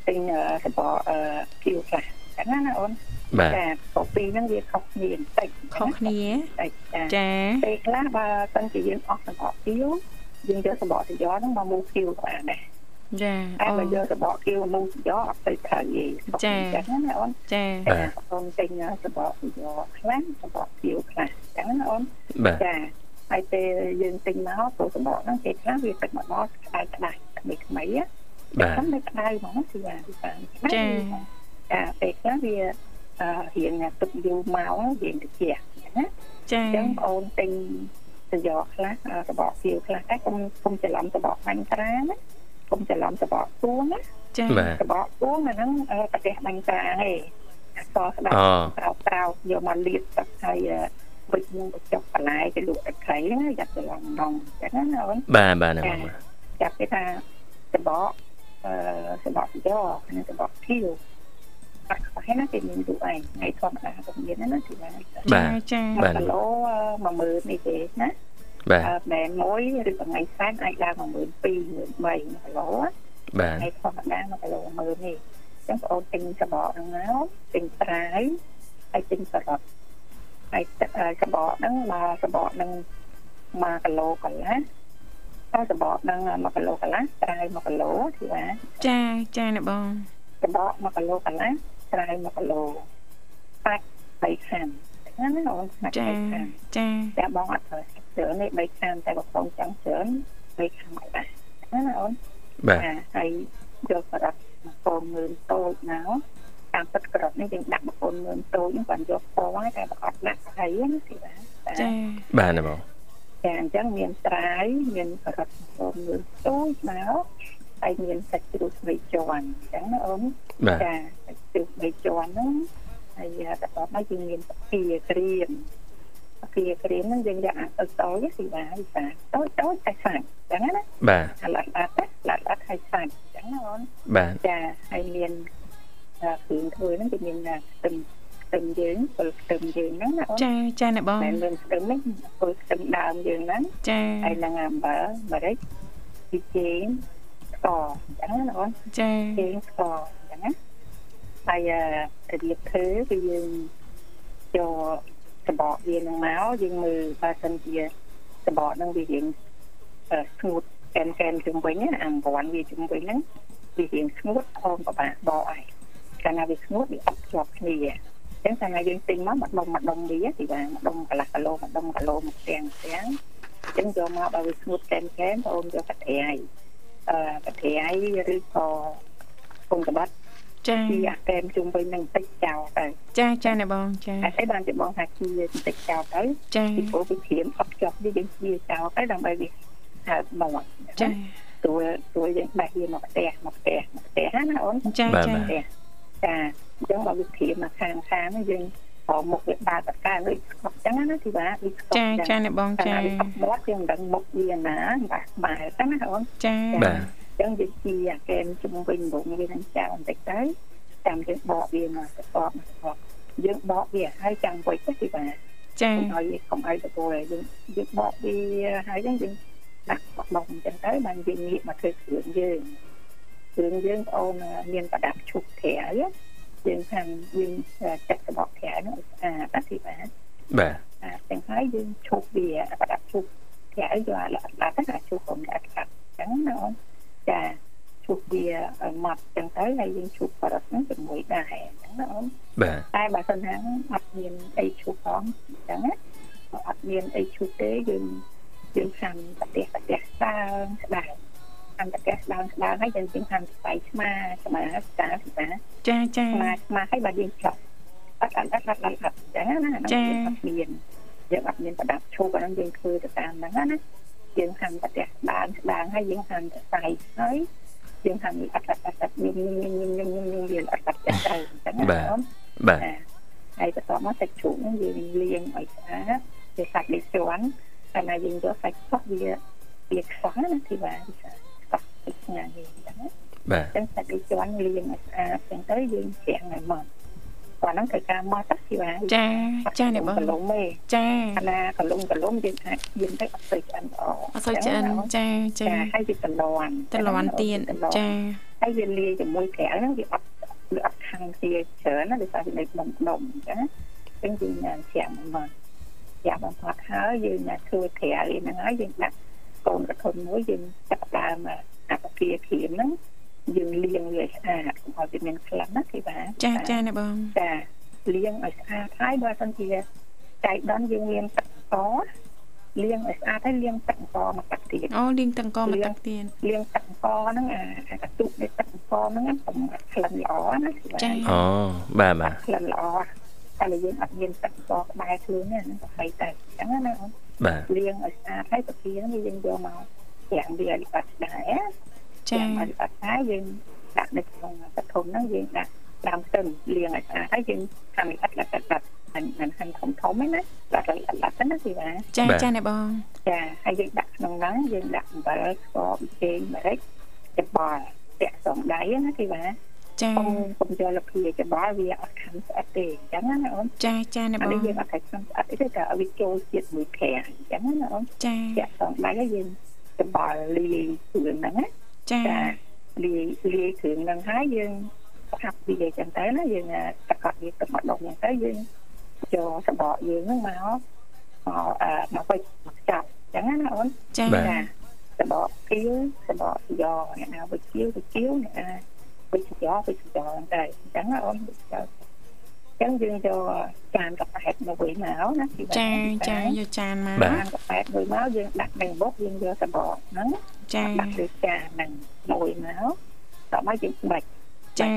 [SPEAKER 5] ទិញអឺសបកអឺគីវខ្លះចឹងណាណាអូន
[SPEAKER 2] បាទ
[SPEAKER 5] ក៏ពីរហ្នឹងវាខុសគ្នាបន្តិច
[SPEAKER 1] ខុសគ្នា
[SPEAKER 5] បន្តិចចា
[SPEAKER 1] ចា
[SPEAKER 5] ពេលខ្លះបើសិនជាយើងអស់សបកគីវយើងយកសបកសយោហ្នឹងមកមូលគីវក៏បានដែរ
[SPEAKER 1] ចា
[SPEAKER 5] តែ
[SPEAKER 1] អូ
[SPEAKER 5] បើយកសបកគីវមូលសយោអត់ទៅខើយទេ
[SPEAKER 1] ចា
[SPEAKER 5] ចឹងណាណាអូន
[SPEAKER 1] ចា
[SPEAKER 5] តែបងអូនទិញអឺសបកសយោខ្លះសបកគីវខ្លះចឹងណាណាអូន
[SPEAKER 2] បាទ
[SPEAKER 5] ចា ហើយពេលយើងទិញមកព្រោះសម្បកហ្នឹងគេខ្លះវាទឹកមកមកស្អាតក្តៅក្តៅថ្មីណា
[SPEAKER 2] បាទ
[SPEAKER 5] ខ្ញុំនៅក្តៅហ្មងគឺយ៉ាងពិបាក
[SPEAKER 1] ចា
[SPEAKER 5] ចាពេលខ្លះវាអឺរៀងទឹកយូរមករៀងត្រជាក់ណា
[SPEAKER 1] ចា
[SPEAKER 5] អញ្ចឹងបងអូនទិញសម្យោខ្លះអ่าសបកសៀវខ្លះតែកុំកុំច្រឡំសបកបាញ់ត្រាណាកុំច្រឡំសបកទួងណា
[SPEAKER 1] ចា
[SPEAKER 2] បាទ
[SPEAKER 5] សបកទួងអាហ្នឹងអ่าប្រទេសបាញ់ត្រាហេអសស្ដាប់
[SPEAKER 2] អូ
[SPEAKER 5] ក្រោបក្រោបយកមកលាបទឹកហើយអ่าវិចនឹងបញ្ចុះបន្លែទៅលក់ទឹកត្រីណាយ៉ាប់ច្រឡំដងអញ្ចឹងណាអូន
[SPEAKER 2] បាទបាទណាបង
[SPEAKER 5] ចាប់គេថាសបកអឺសបកសម្យោនិងសបកភៀវអត់ខ្វះណាគេមានទូឯងថ្ងៃធម្មតាក៏មានដែរណាទីណា
[SPEAKER 2] បាទ
[SPEAKER 1] ចា
[SPEAKER 2] បា
[SPEAKER 5] បាទ ទគីឡូ10000នេះទេណា
[SPEAKER 2] បាទ
[SPEAKER 5] អឺម៉ែនមួយឬក៏ថ្ងៃសែនអាចឡើង12000 13000គីឡូណា
[SPEAKER 2] បាទ
[SPEAKER 5] ថ្ងៃធម្មតា1គីឡូ10000នេះអញ្ចឹងបងអូនទិញសបកហ្នឹងមកទិញត្រាយហើយទិញសរុបហើយទឹកអឺសបកហ្នឹងមកសបកហ្នឹង1គីឡូកន្លះហើយសបកហ្នឹង1គីឡូកន្លះត្រាយ1គីឡូធីតា
[SPEAKER 1] ចាចាណាបង
[SPEAKER 5] កបក1គីឡូកន្លះត្រាយ1គីឡូបាច់3ខាំហ្នឹងណាអូនស្នាក់
[SPEAKER 1] ចា
[SPEAKER 5] 3ខាំ
[SPEAKER 1] ចា
[SPEAKER 5] តែបងអត់ត្រូវជ្រើសនេះ3ខាំតែបងចង់ជ្រើស3ខាំឲ្យបានហ្នឹងណាអូន
[SPEAKER 2] បាទ
[SPEAKER 5] ចាហើយយកប្រដាប់កូនមើលតូចមកតាមទឹកក្រត់នេះយើងដាក់បកូនមើលតូចហ្នឹងបានយកពណ៌ឲ្យតែបងអត់ដាក់ស្អីណាទីបាន
[SPEAKER 1] ចា
[SPEAKER 2] បាទណាបង
[SPEAKER 5] ចាអញ្ចឹងមានត្រាយមានប្រដាប់កូនមើលតូចមកហើយមានសាច់ជ្រូកស្រីជាន់អញ្ចឹងណាអូន
[SPEAKER 2] បាទ
[SPEAKER 5] ចាទឹកបីជាន់ហ្នឹងហើយបន្ទាប់មកយើងមានស្ពាក្រៀមស្ពាក្រៀមហ្នឹងយើងយកអាតូចតូចពីបានវិសាតូចតូចតែសាច់អញ្ចឹងណា
[SPEAKER 2] បាទ
[SPEAKER 5] អាឡាត់ឡាត់ឡាត់ឡាត់ឲ្យសាច់អញ្ចឹងណាអូន
[SPEAKER 2] បាទ
[SPEAKER 5] ចាហើយមានគ្រឿងធ្វើហ្នឹងគឺមានខ្ទឹមខ្ទឹមយើងពលខ្ទឹមយើងហ្នឹងណាអូន
[SPEAKER 1] ចាចាណាបង
[SPEAKER 5] តែមានខ្ទឹមនេះពលខ្ទឹមដើមយើងហ្នឹង
[SPEAKER 1] ចា
[SPEAKER 5] ហើយនឹងអំបិលម្រេចជីចេងស្ករអញ្ចឹងណាអូន
[SPEAKER 1] ចា
[SPEAKER 5] គេស្គាល់អញ្ចឹងណាហើយអឺរបៀបធ្វើគឺយើងយកសបកវានឹងមកយើងមើលបើសិនជាសបកនឹងវារៀងអឺស្ងួតកែនកែនជុំវិញណាអង្វាន់វាជុំវិញហ្នឹងវារៀងស្ងួតអមប្របាក់បកហើយកាលណាវាស្ងួតវាអត់ជាប់គ្នាអញ្ចឹងកាលណាយើងទិញមកម្ដុំម្ដុំវាទីបានម្ដុំកន្លះគីឡូម្ដុំគីឡូមួយផ្ទាំងផ្ទាំងអញ្ចឹងយកមកដល់វាស្ងួតកែនកែនបងអូនយកកាត់អាយអឺកាត់អាយឬក៏ គុំក្បាត់
[SPEAKER 1] ចា
[SPEAKER 5] ជាអាកែមជុំវិញនឹងបន្តិចចោលទៅ
[SPEAKER 1] ចាចាណាបងចា
[SPEAKER 5] តែឯងបានជាបងថាជាបន្តិចចោលទៅ
[SPEAKER 1] ចា
[SPEAKER 5] ពីព្រោះវាព្រាមអត់ជាប់នេះយើងជាចោលទៅដើម្បីវាហៅមក
[SPEAKER 1] ចា
[SPEAKER 5] ទួលទួលយើងបេះវាមកផ្ទះមកផ្ទះមកផ្ទះណាអូនចា
[SPEAKER 1] ចាចា
[SPEAKER 5] ចាអញ្ចឹងបើវាព្រាមមកខាងខាងហ្នឹងយើងអមមុខវាបើកតកាដូចស្គប់អញ្ចឹងណាធីបាវាស្គប់
[SPEAKER 1] ចាចាណាបង
[SPEAKER 5] តែ
[SPEAKER 1] ចា
[SPEAKER 5] វាស្គប់មកយើងមិនដឹងមុខវាណាបាទបែរទៅណាអូន
[SPEAKER 1] ចា
[SPEAKER 2] បាទ
[SPEAKER 5] អញ្ចឹងវាជាអាកែមជុំវិញរងវានឹងចោលបន្តិចទៅចាំយើងបកវាមកសកបមកសកបយើងបកវាហើយចាំបុយទៅទីបាទ
[SPEAKER 1] ចា
[SPEAKER 5] កុំឲ្យវាកុំឲ្យទៅគល់ហើយយើងយើងបកវាហើយហ្នឹងយើងដាក់បកមកអញ្ចឹងទៅបានវាងាកមកធ្វើគ្រឿងយើងគ្រឿងយើងបងអូនមានប្រដាប់ឈុកក្រៅយើងខាងយើងចាក់សបកក្រៅហ្នឹងឲ្យស្អាតណាទីបាទ
[SPEAKER 2] បាទ
[SPEAKER 5] អាទាំងហើយយើងឈប់វាប្រដាប់ឈប់តែឲ្យយកអាឡាតែឈប់កុំដាក់កាត់អញ្ចឹងណាអូនចាឈប់វាឲ្យម៉ត់អញ្ចឹងទៅហើយយើងឈប់ប្រដាប់ហ្នឹងជាមួយដែរអញ្ចឹងណាអូន
[SPEAKER 2] បាទ
[SPEAKER 5] តែបើសិនណាអត់មានអីឈប់ផងអញ្ចឹងណាបើអត់មានអីឈប់ទេយើងយើងហាន់ប្រទេសប្រទេសស្ដើងស្ដើងហាន់ប្រទេសស្ដើងស្ដើងហើយយើងយើងហាន់ស្បៃឆ្មាឆ្មាស្ដើងស្ដើង
[SPEAKER 1] ចាចា
[SPEAKER 5] ស្មាស្មាឲ្យបើយើងចប់អត់អត់អត់អត់អត់អត់ចឹងណា
[SPEAKER 1] ចា៎
[SPEAKER 5] យើងអត់មានយើងអត់មានប្រដាប់ឈូកអាហ្នឹងយើងធ្វើទៅតាមហ្នឹងណាយើងហាន់ប្រទេសស្ដាងស្ដាងហើយយើងហាន់ទៅស្អីហើយយើងហាន់អត់អត់អត់អត់ញឹមញឹមញឹមញឹមញឹមញឹមវាអត់អត់ចឹងទៅចឹងណាអូន
[SPEAKER 2] បាទ
[SPEAKER 5] ចាហើយបន្ទាប់មកសាច់ឈូកហ្នឹងយើងលាងឲ្យស្អាតវាសាច់ដូចជាន់តែណាយើងយកសាច់ខុសវាវាខ្វះណាទីបានចាខ្វះពីស្ងាត់នេះចឹងណា
[SPEAKER 2] បាទ
[SPEAKER 5] ចឹងសាច់ដូចជាន់លាងឲ្យស្អាតចឹងទៅយើងច្រាំងឲ្យម៉ត់គាត់ហ្នឹងត្រូវការម៉ត់ទៅវា
[SPEAKER 1] ចាចាណាបង
[SPEAKER 5] កលុំទេ
[SPEAKER 1] ចា
[SPEAKER 5] អាណាកលុំកលុំយើងអាចជៀនទៅអត់ស្អីឆ្អិនល្អ
[SPEAKER 1] អត់សូវឆ្អិនចាចា
[SPEAKER 5] ចាហើយវាតលន់
[SPEAKER 1] តលាន់ទៀតចា
[SPEAKER 5] ហើយវាលាយជាមួយក្រៅហ្នឹងវាអត់វាអត់ខាំងគ្នាច្រើនណាដោយសារវានៅក្នុងដុំចឹងចឹងយើងញ៉ាំច្រាំងឲ្យម៉ត់ច្រាំងបំផុតហើយយើងញ៉ាំធ្វើក្រៅហ្នឹងហើយយើងដាក់កូនកធុនមួយយើងចាប់ដើមអាប្រគាគ្រៀមហ្នឹងយើងលាងវាឲ្យស្អាតកុំឲ្យវាមានខ្លាំងណាគេបាទ
[SPEAKER 1] ចាចាណាបង
[SPEAKER 5] ចាលាងឲ្យស្អាតហើយបើសិនជាចៃដន្យយើងមានទឹកស្ករ លាងឲ្យស្អាតហើយលាងទឹកអង្ករមកទឹកទៀត
[SPEAKER 1] អូលាងទឹកអង្ករមកទឹកទៀត
[SPEAKER 5] លាងទឹកអង្ករហ្នឹងអាអាកន្ទុកនៃទឹកអង្ករហ្នឹងប្រមាត់ក្លិនល្អណា
[SPEAKER 1] ចា៎
[SPEAKER 2] អូបាទបាទ
[SPEAKER 5] ក្លិនល្អតែយើងអត់មានទឹកអង្ករក្បែរខ្លួនទេហ្នឹងប្រហែលតែអញ្ចឹងណាអូន
[SPEAKER 2] បាទ
[SPEAKER 5] លាងឲ្យស្អាតហើយប្រទីហ្នឹងយើងយកមកប្រាំងវាឲ្យបាត់ដែរណា
[SPEAKER 1] ចា
[SPEAKER 5] អត់អត់ដែរយើងដាក់នៅក្នុងកធំហ្នឹងយើងដាក់ដើមខ្ទឹមលាងឲ្យស្អាតហើយយើងខាងនេះអត់ដាក់ដាក់មិនមិនហាន់ធំធំហ្នឹងណាដាក់ឲ្យអត់ដាក់ហ្នឹងគឺថា
[SPEAKER 1] ចាចាអ្នកបង
[SPEAKER 5] ចាហើយយើងដាក់ក្នុងហ្នឹងយើងដាក់អំបិលស្ករប៊ីចេងម្រេចចំបល់ពាក់សងដៃណាគឺថា
[SPEAKER 1] ចា
[SPEAKER 5] កុំកុំយកលភាចំបល់វាអត់ខាំស្អិតទេអញ្ចឹងណាអូន
[SPEAKER 1] ចាចាអ្នក
[SPEAKER 5] អា
[SPEAKER 1] បង
[SPEAKER 5] នេះយើងអត់តែខាំស្អិតទេតែឲ្យវាចូលជាតិមួយផ្លែអញ្ចឹងណាអូន
[SPEAKER 1] ចា
[SPEAKER 5] ពាក់សងដៃហើយយើងចំបល់លាយគ្រឿងហ្នឹងណា
[SPEAKER 1] ចា
[SPEAKER 5] ចាលាយលាយគ្រឿងហ្នឹងហើយយើងស្អាប់វាអញ្ចឹងទៅណាយើងអាតកត់វាទឹកម្ដងអញ្ចឹងទៅយើងយកសបកយើងហ្នឹងមកមកអឺមកពេចមកចាប់អញ្ចឹងណាអូន
[SPEAKER 1] ចា
[SPEAKER 5] Dạ. សបកគៀវសបកយកអ្នកណាវិគៀវវិគៀវអ្នកណាវិជ្ជាវិជ្ជាអញ្ចឹងទៅអញ្ចឹងណាអូនវិជ្ជាអញ្ចឹងយើងយកចានកប៉ែតមកវិញមកណាពីបា
[SPEAKER 1] ចា
[SPEAKER 5] ន
[SPEAKER 1] ចាយកចានមក
[SPEAKER 2] បាទ
[SPEAKER 5] ចានកប៉ែតមួយមកយើងដាក់ក្នុងបុកយើងយកសបកហ្នឹង
[SPEAKER 1] ចា
[SPEAKER 5] ដាក់លើចានហ្នឹងមួយមកដល់មកយើងបាច់
[SPEAKER 1] ចា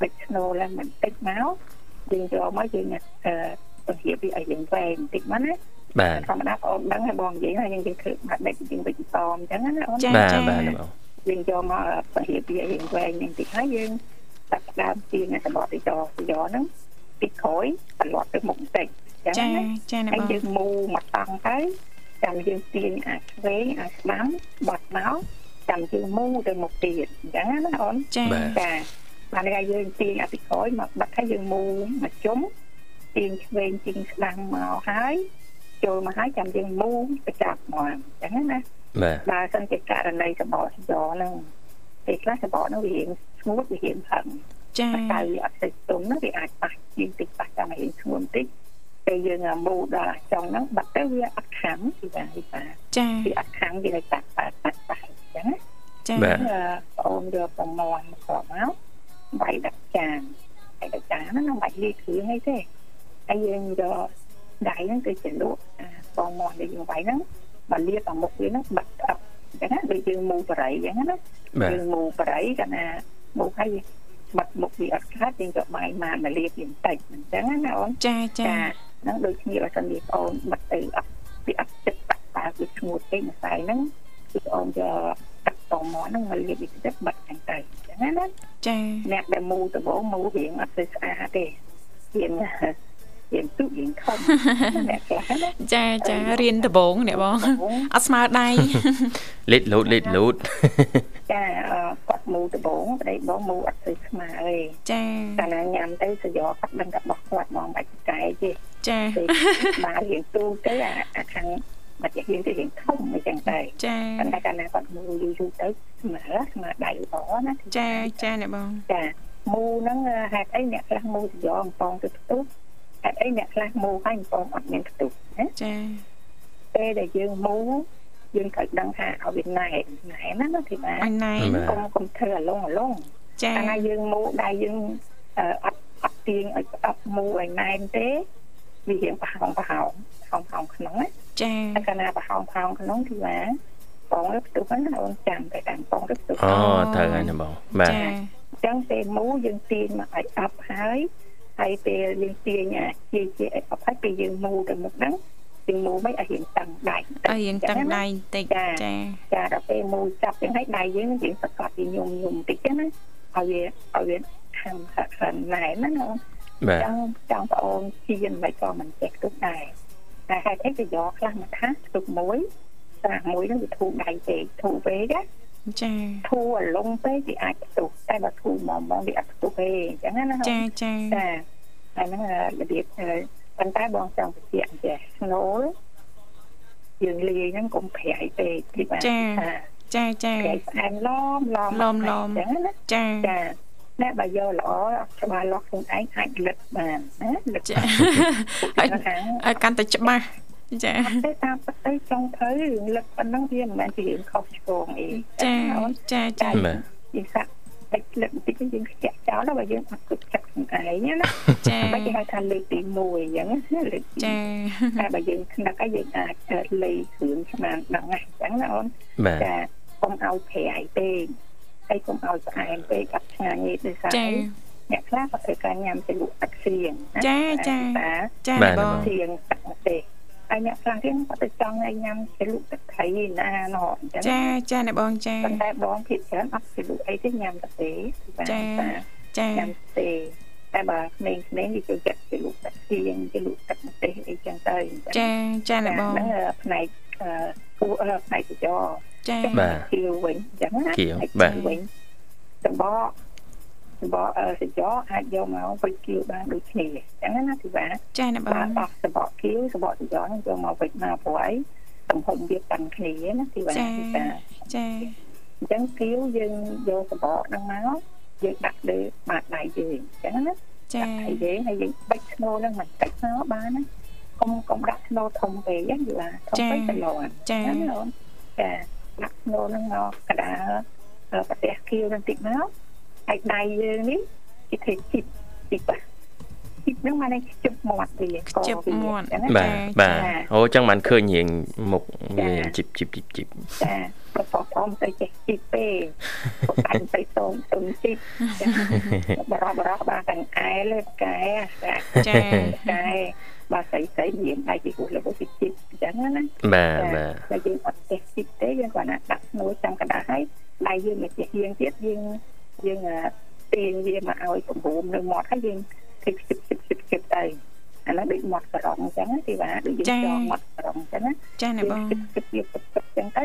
[SPEAKER 5] បាច់ស្នូលឡើងបន្តិចមកយើងយកមកយើងដាក់អឺពហិបវាឲ្យយើងវែងបន្តិចមកណា
[SPEAKER 2] បាទ
[SPEAKER 5] ធម្មតាបងដឹងហើយបងនិយាយថាយើងគេធ្វើបាត់បែកយើងវិជ្ជាអញ្ចឹងណាអូន
[SPEAKER 1] ចា
[SPEAKER 2] បាទ
[SPEAKER 1] ចា
[SPEAKER 2] បាទអ្នកបង
[SPEAKER 5] យើងយកមកពហិបវាឲ្យយើងវែងបន្តិចហើយយើងដាក់ដើមជាអ្នកសម្បត់ទីតទីយកហ្នឹងពីក្រោយបន្លាត់ទៅមុខបន្តិចអញ្ចឹ
[SPEAKER 1] ចា
[SPEAKER 5] ង
[SPEAKER 1] ចា
[SPEAKER 5] ណា
[SPEAKER 1] អ្នក
[SPEAKER 5] ហើយ
[SPEAKER 1] បង
[SPEAKER 5] យើងមូលមកតង់ទៅចាំយើងទាញអាឆ្វេងអាស្ដាំបត់មកចាំយើងមូលទៅមុខទៀតអញ្ចឹងណាអូន
[SPEAKER 1] ចា
[SPEAKER 5] ចាបានគេយើងទាញអាពីក្រោយមកបាត់ហើយយើងមូលមកជុំទាញឆ្វេងទាញស្ដាំមកហើយចូលមកហើយចាំយើងមូលប្រចាប់មកអញ្ចឹងណា
[SPEAKER 2] បាទ
[SPEAKER 5] បើសិនជាករណីសបកសយ៉ហ្នឹងពេលខ្លះសបកហ្នឹងវារៀងស្ងួតវារៀងផឹង
[SPEAKER 1] ចា
[SPEAKER 5] តែកាយវាអត់ស្ិចទុំហ្នឹងវាអាចប៉ះជាងតិចប៉ះតាមរៀងធ្ងន់តិចពេលយើងអាមូលដល់អាចុងហ្នឹងបាត់ទៅវាអត់ខាំពីថាវិបា
[SPEAKER 1] ចា
[SPEAKER 5] វាអត់ខាំវានៅតាក់ប៉ាក់ប៉ាក់ប៉ាក់អញ្ចឹងណា
[SPEAKER 1] ចា
[SPEAKER 2] បាទ
[SPEAKER 5] អឺប្អូនយកប្រមាន់មកគាត់មកបាយដាក់ចានបាយដាក់ចានហ្នឹងមិនបាច់លាយគ្រឿងអីទេហើយយើងយកដៃហ្នឹងគឺជាលក់អាប្រមាន់ដែលយើងបាយហ្នឹងបើលាបតាមមុខវាហ្នឹងបាត់អឹបអញ្ចឹងណាដូចយើងមូលបរិយអញ្ចឹងណា
[SPEAKER 2] បាទ
[SPEAKER 5] យើងមូលបរិយកាលណាមុខហើយបាត់មុខវាអត់ខាតយើងក៏បាយមកមកលាបវាបន្តិចអញ្ចឹងណាអូន
[SPEAKER 1] ចាចា
[SPEAKER 5] ហ្នឹងដូចគ្នាបើសិនជាបងអូនបាត់ទៅអត់វាអត់ចិត្តបាក់បាវាឈ្ងួតទេម្សៅហ្នឹងគឺបងអូនយកទឹកតមកហ្នឹងមកលាបវាចិត្តបាត់ខាងទៅអញ្ចឹងណា
[SPEAKER 1] ចា
[SPEAKER 5] អ្នកដែលមូលដំបងមូលរៀងអត់ទៅស្អាតទេរៀងរៀងទុរៀងខំអ្នកខ្លះណា
[SPEAKER 1] ចាចារៀនដំបងអ្នកបងអត់ស្មើដៃ
[SPEAKER 2] លេតលូតលេតលូត
[SPEAKER 5] ចាគាត់មូលដំបងប្តីបងមូលអត់ទៅស្មើទេ
[SPEAKER 1] ចា
[SPEAKER 5] កាលណាញ៉ាំទៅសយោគាត់ដឹងតែបោះគាត់មកបាច់ចែកទេ
[SPEAKER 1] ចា
[SPEAKER 5] ពេល បានរៀងទូទៅអាអាខាងបាច់រៀងទៅរៀងធំអញ្ចឹងទៅ
[SPEAKER 1] ចា
[SPEAKER 5] ប៉ុន្តែកាលណាគាត់មូលយូរយូរទៅស្មើស្មើដៃល្អណា
[SPEAKER 1] ចាចាអ្នកបង
[SPEAKER 5] ចាមូលហ្នឹងហេតុអីអ្នកខ្លះមូលសយោអំពងទៅផ្ទុះហេតុអីអ្នកខ្លះមូលហើយអំពងអត់មានផ្ទុះណា
[SPEAKER 1] ចា
[SPEAKER 5] ពេលដែលយើងមូលយើងត្រូវដឹងថាឲ្យវាណែនណែនណាណាទីបា
[SPEAKER 1] អ
[SPEAKER 5] ន
[SPEAKER 1] ញណៃ
[SPEAKER 2] បាទ
[SPEAKER 5] កុំកុំធ្វើអាលងអាលង
[SPEAKER 1] ចា
[SPEAKER 5] កាលណាយើងមូលដៃយើងអឺអត់អត់ទាញឲ្យស្អប់មូលឲ្យណែនទេវារៀងប្រហោងប្រហោងប្រហោងប្រហោងក្នុងណា
[SPEAKER 1] ចា
[SPEAKER 5] តែកាលណាប្រហោងប្រហោងក្នុងគឺថាបងឬផ្ទុះហ្នឹងណាអូនចាំតែតាមបងឬផ្ទុះអ
[SPEAKER 2] អូត្រូវហើយអ្នកបងបាទ
[SPEAKER 1] ចា
[SPEAKER 5] ញ្ចឹងពេលមូលយើងទាញមកឲ្យអប់ហើយហើយពេលយើងទាញអាជាជាឲ្យអប់ហើយពេលយើងមូលទៅមុខហ្នឹងយើងមូលមិនឲ្យរៀងតឹងដៃ
[SPEAKER 1] អីយ៉ាងតឹងដៃបន្តិចចា
[SPEAKER 5] ចាដល់ពេលមូលចាប់ទាំងហើយដៃយើងនឹងរៀងសកត់វាញុំញុំបន្តិចណាឲ្យវាឲ្យវាខាំខាំណែនណាអូន
[SPEAKER 2] បាទ
[SPEAKER 5] ចង់ចង់ប្អូនជៀនមិនក៏មិនចេះទុកដែរតែហេតុអីក៏យកខ្លះមកថាទុកមួយស្រាក់មួយហ្នឹងវាធូរដៃពេកធូរពេកណា
[SPEAKER 1] ចា
[SPEAKER 5] ធូរអលងពេកវាអាចផ្ទុះតែបើធូរមកមកវាអត់ផ្ទុះទេអញ្ចឹងណា
[SPEAKER 1] ចាចា
[SPEAKER 5] ចាហើយហ្នឹងអារបៀបអឺប៉ុន្តែបងចង់បញ្ជាក់អញ្ចេះស្នូលយើងលាយហ្នឹងកុំប្រៃពេកទីបាន à,
[SPEAKER 1] ចាចា
[SPEAKER 5] ប្រៃស្អាតឡមឡម
[SPEAKER 1] ឡមឡម
[SPEAKER 5] អញ្ចឹងណា
[SPEAKER 1] ចា
[SPEAKER 5] ចាតែបើយកល្អច្បាស់លាស់ខ្លួនឯងអាចលឹកបានណាលឹក
[SPEAKER 1] ចា
[SPEAKER 5] បាន
[SPEAKER 1] ឲ្យ
[SPEAKER 5] ថា
[SPEAKER 1] ឲ្យកាន់តែច្បាស់ចា
[SPEAKER 5] តែតាមពិតទៅចង់ទៅរឿងលឹកប៉ុណ្ណឹងវាមិនមែនជារឿងខុសឆ្គងអី
[SPEAKER 1] ចា
[SPEAKER 5] អូន
[SPEAKER 1] ចាចា
[SPEAKER 2] បាទ
[SPEAKER 5] យើងសាក់តិចលឹកបន្តិចទៅយើងខ្ជាក់ច ដល់ដល់បើយើងអត់គិតចិត្តខ្លួនឯងណា
[SPEAKER 1] ចា
[SPEAKER 5] បើគេហៅថាលេខទី1អញ្ចឹងណាលេខទី
[SPEAKER 1] ចា
[SPEAKER 5] 1តែបើយើងខ្នឹកហើយយើងអាចលេខគ្រឿងស្មានដល់ណាអញ្ចឹងណាអូន
[SPEAKER 2] បាទ
[SPEAKER 5] ចាកុំឲ្យប្រៃពេកហើយកុំឲ្យផ្អែមពេកអត់ឆ្ងាញ់ទេដោយសារ
[SPEAKER 1] ចា
[SPEAKER 5] អីអ្នកខ្លះក៏ធ្វើការញ៉ាំជ្រលក់ទឹកស្រៀងណា
[SPEAKER 1] ចាចា
[SPEAKER 5] តែ
[SPEAKER 1] ចា
[SPEAKER 2] បាទ
[SPEAKER 1] បង
[SPEAKER 2] បង
[SPEAKER 5] ទៀងទឹកប្រទេសហើយអ្នកខ្លះទៀតគាត់ទៅចង់ឲ្យញ៉ាំជ្រលក់ទឹកត្រីឯណាណោះអញ្ចឹ
[SPEAKER 1] ចាចាអ្នកបងចា
[SPEAKER 5] ប៉ុន្តែបងភិកច្រើនអត់ជ្រលក់អីទេញ៉ាំតែទេបាទ
[SPEAKER 1] ចា
[SPEAKER 5] ចា
[SPEAKER 1] ចា
[SPEAKER 5] ញ៉ាំទេតែបើក្មេងៗវាចូលចិត្តជ្រលក់ទឹកទៀងជ្រលក់ទឹកប្រទេសអីចឹងទៅអញ្
[SPEAKER 1] ចាចាអ្នកបង
[SPEAKER 5] ហ្នឹងផ្នែកអឺគូអឺផ្នែកចចរ
[SPEAKER 1] ចា
[SPEAKER 2] បាទ
[SPEAKER 5] គៀវវិញអញ្ចឹងណា
[SPEAKER 2] គៀវ
[SPEAKER 5] ផ្នែក
[SPEAKER 2] បាទ
[SPEAKER 5] វិញសំបកសំបកអឺចចរអាចយកមកវិចគៀវបានដូចគ្នាអញ្ចឹងណាទីបា
[SPEAKER 1] ចាអ្នកប
[SPEAKER 5] បា
[SPEAKER 1] ង
[SPEAKER 5] នអស់សបកគៀវសបកចចរហ្នឹងយកមកវិចមកព្រោះអីទំហំវាតាំងគ្នាណាទីបា
[SPEAKER 1] ចា
[SPEAKER 5] ទីបា
[SPEAKER 1] ចា
[SPEAKER 5] អញ្ចឹងគៀវយើងយកសបកហ្នឹងមកយើងដាក់លើបាតដៃយើងអញ្ចឹងណា
[SPEAKER 1] ចា
[SPEAKER 5] ហើយយើងហើយយើងបិចស្នូលហ្នឹងមិនតិចមកបានណាកុំកុំដាក់ស្នូលធំពេកហ្នឹងយល់ធំពេកទៅឡង
[SPEAKER 1] ចា
[SPEAKER 5] ណាណាអូនចាដាក់ស្នូលហ្នឹងមកកដាលអឺប្រទេសគៀវហ្នឹងតិចមកហើយដៃយើងនេះគេធ្វើជីបជីបជីបហ្នឹងមកនេះជិបមាត់វា
[SPEAKER 1] ខ្ជិបមាត់
[SPEAKER 5] អញ្ចឹងណា
[SPEAKER 2] បាទបាទ
[SPEAKER 5] ចា
[SPEAKER 2] អូចឹងបានឃើញរៀងមុខ
[SPEAKER 5] ចា
[SPEAKER 2] រៀងជីបជីបជីបជីប
[SPEAKER 5] ចាប្រកបអំទៅចេះជីបពេ កប្រកាញ់ទៅសូមសូមជីបចាបារោះបារោះបានតែកែលើកែអាសា
[SPEAKER 1] ចា
[SPEAKER 5] តែបើស្អីស្អីមានដៃពីគូរបស់ពីជីវិតអញ្ចឹងណា
[SPEAKER 2] បាទបាទ
[SPEAKER 5] តែយើងអត់ចេះជីវិតទេយើងគ្រាន់តែដាក់ស្នូលចាំកណ្ដាស់ហើយដៃយើងមិនចេះហៀងទៀតយើងយើងអ่าទាញវាមកឲ្យប្រមូលនៅមាត់ហើយយើងគិតគិតគិតគិតគិតទៅអានោះដូចមាត់ក្រងអញ្ចឹងណាទីបាដូចយើងចងមាត់ក្រងអញ្ចឹងណា
[SPEAKER 1] ចាអ្នកបង
[SPEAKER 5] គិតគិតគិតគិតអញ្ចឹងទៅ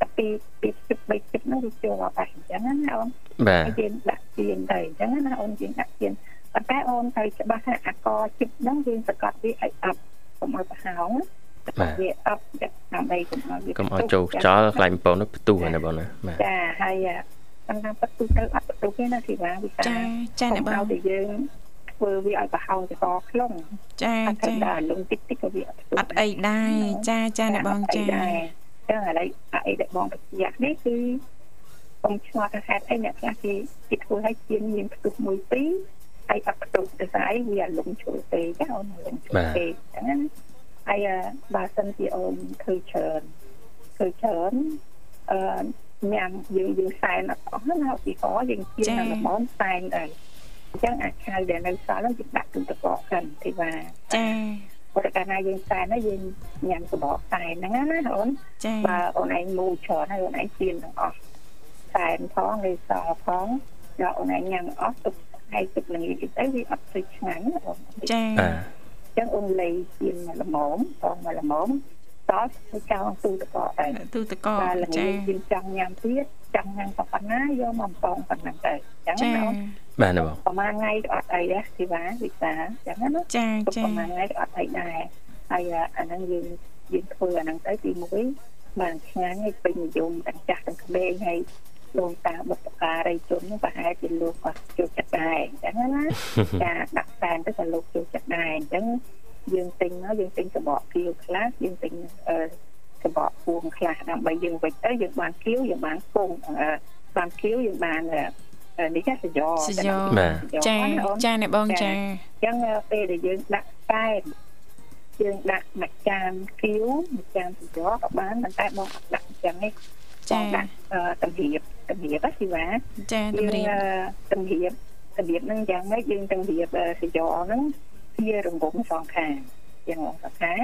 [SPEAKER 5] តែពីពីគិតបីគិតនោះវាចូលមកបែបអញ្ចឹងណាអូន
[SPEAKER 2] បាទ
[SPEAKER 5] ឲ្យយើងដាក់ទៀនទៅអញ្ចឹងណាអូនយើងដាក់ទៀនប៉ុន្តែអូនត្រូវច្បាស់ថាអាកជិតហ្នឹងយើងសកាត់វាឲ្យអប់កុំឲ្យប្រហោងសកាត់វាអប់ដើម្បីកុំឲ្យវា
[SPEAKER 2] កុំឲ្យចូលខ្យល់ខ្លាញ់បងនោះផ្ទុះហ្នឹងណាបងណាបាទ
[SPEAKER 5] ចាហើយតាមតាមពិតទូទៅអត់បន្ទុះទេណាធីវ៉ាវិសា
[SPEAKER 1] ចាចាអ្នកបង
[SPEAKER 5] កុំឲ្យតែយើងធ្វើវាឲ្យប្រហោងចកខ្លង
[SPEAKER 1] ចា
[SPEAKER 5] អត់
[SPEAKER 1] ចា
[SPEAKER 5] ដល់អាលងតិចតិចក៏វាអត់បន្ទុះ
[SPEAKER 1] អត់អីដែរចាចាអ្នកបងចា
[SPEAKER 5] ចឹងឥឡូវអាអីដែលបងបញ្ជាក់នេះគឺកុំឆ្ងល់ថាហេតុអីអ្នកខ្លះគេគេធ្វើឲ្យជាមានផ្ទុះមួយពីរហើយអត់ផ្ទុះទៅស្អីវាអាលំជួយពេកណាអូនអាលំជួយពេកចឹងណាហើយអឺបើសិនជាអូនឃើញច្រើនឃើញច្រើនអឺញ៉ាំយើងយើងសែនអត់អស់ណាពីកយើងជានៅល្មមសែនដែរអញ្ចឹងអាឆៅដែលនៅសល់ហ្នឹងគេដាក់ទូទឹកកកសិនទេបាទ
[SPEAKER 1] ចា
[SPEAKER 5] ព្រោះកាលណាយើងសែនហើយយើងញ៉ាំសបកសែនហ្នឹងណាអូន
[SPEAKER 1] ចា
[SPEAKER 5] បើអូនឯងមូលច្រើនហើយអូនឯងជៀនទាំងអស់សែនផងលេសអផងដល់អូនឯងញ៉ាំអស់ទុកហើយទុកនឹងយូរទៅវាអត់ស្រួយឆ្ងាញ់ណាអូនអញ្
[SPEAKER 1] ចា
[SPEAKER 2] បាទ
[SPEAKER 5] ចឹងអូនលេជៀនមកល្មមផងមកល្មមតោះទៅចោលទូទឹកកកដែរ
[SPEAKER 1] ទូតកោ
[SPEAKER 5] បាទល្ងា
[SPEAKER 1] ចា
[SPEAKER 5] ចយើងចង់ញ៉ាំទៀតចង់ញ៉ាំក៏ប៉ុណ្ណាយកមកបំពងប៉ុណ្ណឹងទៅអញ្ចឹ
[SPEAKER 1] ចា
[SPEAKER 5] ងណាអូន
[SPEAKER 2] បាទណាបង
[SPEAKER 5] ប្រហែលថ្ងៃក៏អត់អីដែរធីវ៉ាវិសាអញ្ចឹងណា
[SPEAKER 1] ចា
[SPEAKER 5] ទុក
[SPEAKER 1] ចា
[SPEAKER 5] ប្រហែលថ្ងៃក៏អត់អីដែរហើយអ่าអាហ្នឹងយើងយើងធ្វើអាហ្នឹងទៅទី1បានឆ្ងាញ់ហើយពេញនិយមទាំងចាស់ទាំងក្មេងហើយលោកតាបុព្វការីជនហ្នឹងប្រហែលជាលោកក៏ចូលចិត្តដែរអញ្ចឹងណាចាដាក់តែនទៅក៏លោកចូលចិត្តដែរអញ្ចឹងយើងទិញមកយើងទិញកបកគៀវខ្លះយើងទិញអឺកបកពួងខ្លះដើម្បីយើងវិចទៅយើងបានគៀវយើងបានពុងអឺបានគៀវយើងបានអឺអឺនេះចាសយោ
[SPEAKER 1] សយោ
[SPEAKER 2] បាទ
[SPEAKER 1] ចា
[SPEAKER 5] ណាអូន
[SPEAKER 1] ចាអ្នកបងចា
[SPEAKER 5] ចឹងពេលដែលយើងដាក់តែមយើងដាក់មួយចានគៀវមួយចានសម្រាប់ក៏បានប៉ុន្តែបងអត់ដាក់អញ្ចឹងទេ
[SPEAKER 1] ចា
[SPEAKER 5] បងដាក់អឺតម្រៀបតម្រៀបហ្នឹងស៊ីវ៉ា
[SPEAKER 1] ចាតម្រា
[SPEAKER 5] យើង
[SPEAKER 1] ប
[SPEAKER 5] អឺតម្រៀបតម្រៀបហ្នឹងយ៉ាងម៉េចយើងតម្រៀបអឺសម្រាប់ហ្នឹងជារង្វង់សងខាងជារង្វង់សងខាង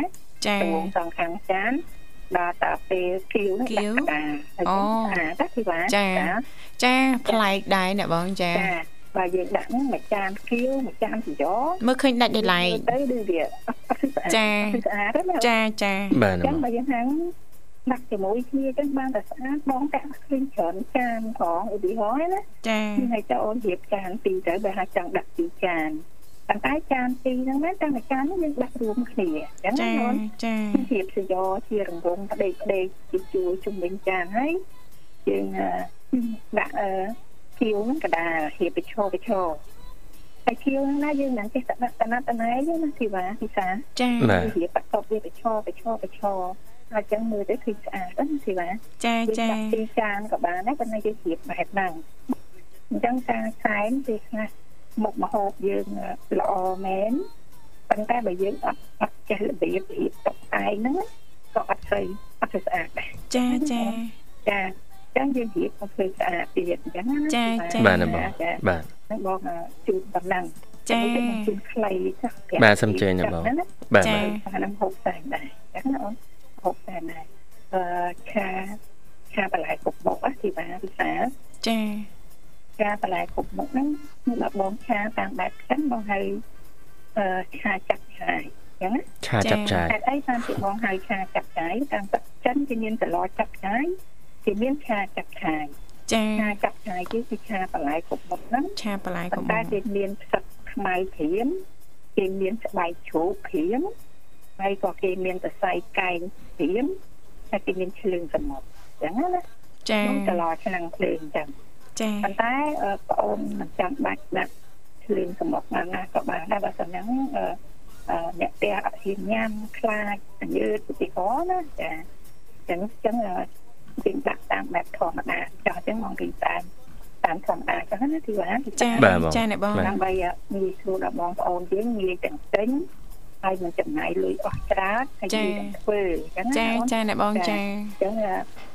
[SPEAKER 1] ចា
[SPEAKER 5] រង្វង់សងខាងចានដល់តាពេលគៀវហ្នឹងដាក់កណ្ដាលហើយចាស៊ីវ៉ា
[SPEAKER 1] ចាប្លែកដែរអ្នកបងចា
[SPEAKER 5] ចាបើយើងដាក់ហ្នឹងមួយចានគៀវមួយចានសម្រ
[SPEAKER 1] មើលឃើញដាច់ដោយឡែ
[SPEAKER 5] ា
[SPEAKER 1] ក
[SPEAKER 5] ប់ទៅដូច វា
[SPEAKER 1] ចា
[SPEAKER 5] អត់ស្អាតទេណាអ
[SPEAKER 1] ចាចា
[SPEAKER 2] បាទណាប
[SPEAKER 5] ញ្ចឹង
[SPEAKER 2] ង
[SPEAKER 5] បើយើងហាំងដាក់ជាមួយគ្នាអញ្ចឹងបានតែស្អាតបងតាក់ឃើញច្រើនចានផងឧទាហរណ៍ណា
[SPEAKER 1] ចា
[SPEAKER 5] ខ្ញុំឲ្យតើអូនរៀបចានពីរទៅបើហាក់ចង់ដាក់ពីរចានប៉ុន្តែចានពីរហ្នឹងណាតែមួយចានហ្នឹងយើងដាក់រួមគ្នាអ
[SPEAKER 1] ចា
[SPEAKER 5] ញ្ចឹងណាអូន
[SPEAKER 1] ចា
[SPEAKER 5] រៀបសយោជារង្វង់ផ្ដេកផ្ដេកជាជួយជំនាញចានហើយយើងអឺដាក់អឺគៀវហ្នឹងកដាលរៀបបិឈរបិឈរតែគៀវហ្នឹងណាយើងមិនចេះតែដាក់តណាត់តណៃទេណាធីវ៉ាពិសា
[SPEAKER 1] ចា
[SPEAKER 2] បាទ
[SPEAKER 5] វារៀបបន្ទប់វាបិឈរបិឈរបិឈរហើយចឹងមើលទៅឃើញស្អាតហ្នឹងធីវ៉ា
[SPEAKER 1] ចា
[SPEAKER 5] យើង
[SPEAKER 1] ចា
[SPEAKER 5] ដាក់ពីរចានក៏បានដែរប៉ុន្តែយើងរៀបបែបហ្នឹង អញ្ចឹងការសែនពេលខ្លះមុខម្ហូបយើងល្អមែនប៉ុន្តែបើយើងអត់អត់ចេះរបៀបរៀបតុបតែងហ្នឹងក៏អត់ស្អីអត់ស្អាតដែរ
[SPEAKER 1] ចាចា
[SPEAKER 5] ចាអញ្ចឹងយើងរៀបឲ្យធ្វើស្អាតទៀតអញ្ចឹងណា
[SPEAKER 1] ចាចា
[SPEAKER 2] បាទណាបង
[SPEAKER 5] ចា
[SPEAKER 2] បាទ
[SPEAKER 5] ហ្នឹងបងជូនតំណឹង
[SPEAKER 1] ចា
[SPEAKER 5] ខ្ញុំជូនខ្លីចាស់ប្រាក់
[SPEAKER 2] បាទសូមអញ្ជើញណាបង
[SPEAKER 5] ហ្នឹងណា
[SPEAKER 2] បាទ
[SPEAKER 1] ចា
[SPEAKER 2] បាទ
[SPEAKER 5] អាហ្នឹងហូបតែដែរចឹងណាអូនហូបតែដែរអឺឆាឆាបន្លែគ្រប់មុខណាទីបានពិសា
[SPEAKER 1] ចា
[SPEAKER 5] ឆាបន្លែគ្រប់មុខហ្នឹងខ្ញុំដាក់បងឆាតាមបែបហ្នឹងបងហៅអឺឆាចាក់ឆាយចឹងណា
[SPEAKER 2] ឆាចាប់ចាយ
[SPEAKER 5] តែអីតាមពីបងហៅឆាចាក់ឆាយតាមទឹកចិនគេមានសឡចាក់ឆាយគេមានឆាចាក់ឆាយ
[SPEAKER 1] ចា
[SPEAKER 5] ឆាចាក់ឆាយគឺគឺឆាបន្លែគ្រប់មុខហ្នឹង
[SPEAKER 1] ឆាបន្លែ
[SPEAKER 5] ប៉ុ
[SPEAKER 1] កុំ
[SPEAKER 5] ន្តែគេមានផ្សិតខ្មៅព្រៀមគេមានស្បែកជ្រូកព្រៀមហើយក៏គេមានសរសៃកែងព្រៀមហើយគេមានឆ្លឹងសមុទ្រអញ្ចឹង
[SPEAKER 1] ចា
[SPEAKER 5] ណាខ្ញុំចន្លោឆ្នាំភ្លើងអញ្ចឹង
[SPEAKER 1] ចា
[SPEAKER 5] ប៉ុន្តែអឺប្អូនមិនចាំបាច់ដាក់ឆ្លឹងសមុទ្របានណាក៏បានដែរបើមិនហ្នឹងអឺអឺអ្នកផ្ទះអត់ហ៊ានញ៉ាំខ្លាចញើតពីកោណាចាអញ្ចឹងអញ្ចឹងអឺគេដាក់តាមបែបធម្មតាចោះអញ្ចឹងមកគេតាមតាមធម្មតាអញ្ចឹងណាទីបាន
[SPEAKER 1] ចាចាអ្នកបង
[SPEAKER 5] ដើម្បីងាយស្រួលដល់បងប្អូនយើងងាយទាំងទិញហើយមិនចំណាយលុយអស់ច្រើនហើយងាយទាំងធ្វើអញ្ចឹ
[SPEAKER 1] ចា
[SPEAKER 5] ង
[SPEAKER 1] ចា
[SPEAKER 5] ណា
[SPEAKER 1] អ្នកបងចា
[SPEAKER 5] អញ្ចឹង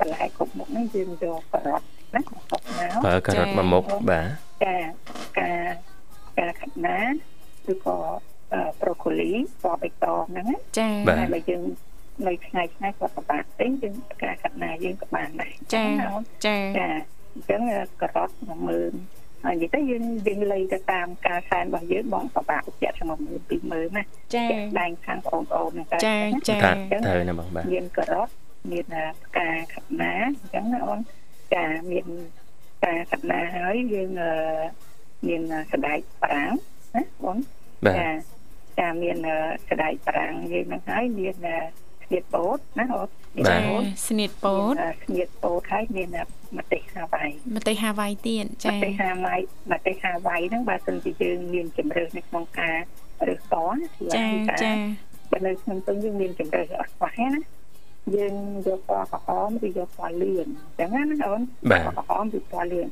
[SPEAKER 5] បន្លែគ្រប់មុខនេះយើងយកប្រអប់ណាប្រអប់មក
[SPEAKER 2] បើការ៉ុតមួយមុខបាទ
[SPEAKER 5] ចាការការខាត់ណាឬក៏ប្រូកូលីពណ៌បៃតងហ្នឹងណា
[SPEAKER 1] ចា
[SPEAKER 5] ហើយបើយើងនៅឆ្ងាយឆ្ងាយក៏ប្របាក់ទិញយើងការខាត់ណាយើងក៏បានដែរអ
[SPEAKER 1] ចា
[SPEAKER 5] ញ្ងណាអូន
[SPEAKER 1] ចា
[SPEAKER 5] ចាអញ្ចឹងការ៉ុត10000ហើយនិយាយទៅយើងយើងលៃទៅតាមការសែនរបស់យើងបងប្របាក់ជាក់ឆ្នាំ12000ណា
[SPEAKER 1] ចា
[SPEAKER 5] ជាក់ដែងខាងបងប្អូនហ្នឹងទៅ
[SPEAKER 1] ចាចា
[SPEAKER 2] តាទៅណាបងបាទ
[SPEAKER 5] មានការ៉ុតមានផ្កាខាត់ណាអញ្ចឹងណាអូនចាមានផ្កាខាត់ណាហើយយើងអឺមានសណ្ដែកប្រាំងណាបង
[SPEAKER 2] បាទ
[SPEAKER 5] ចាចាមានអឺសណ្ដែកប្រាំងយើងហ្នឹងហើយមានអឺស្លៀកពោតណាអូនស្លៀក
[SPEAKER 1] ចា
[SPEAKER 5] ពោត
[SPEAKER 1] ស្នៀតពោត
[SPEAKER 5] មានស្នៀតពោតហើយមានម្ទេសហាវ៉ៃ
[SPEAKER 1] ម្ទេសហាវ៉ៃទៀត
[SPEAKER 5] ម្
[SPEAKER 1] ចា
[SPEAKER 5] ទេសហាវ៉ៃម្ទេសហាវ៉ៃហ្នឹងបើសិនជាយើងមានជំរើសនៅក្នុងការរើសតណាគឺ
[SPEAKER 1] ចា
[SPEAKER 5] ថា
[SPEAKER 1] ចា
[SPEAKER 5] បើនៅក្នុងទងយើងមានជំរើសអត់ខ្វះទេណាយើងយកពណ៌ក្រហមឬយកពណ៌លឿងអញ្ចឹងណាណាអូនពណ៌ក្រហមឬពណ៌លឿង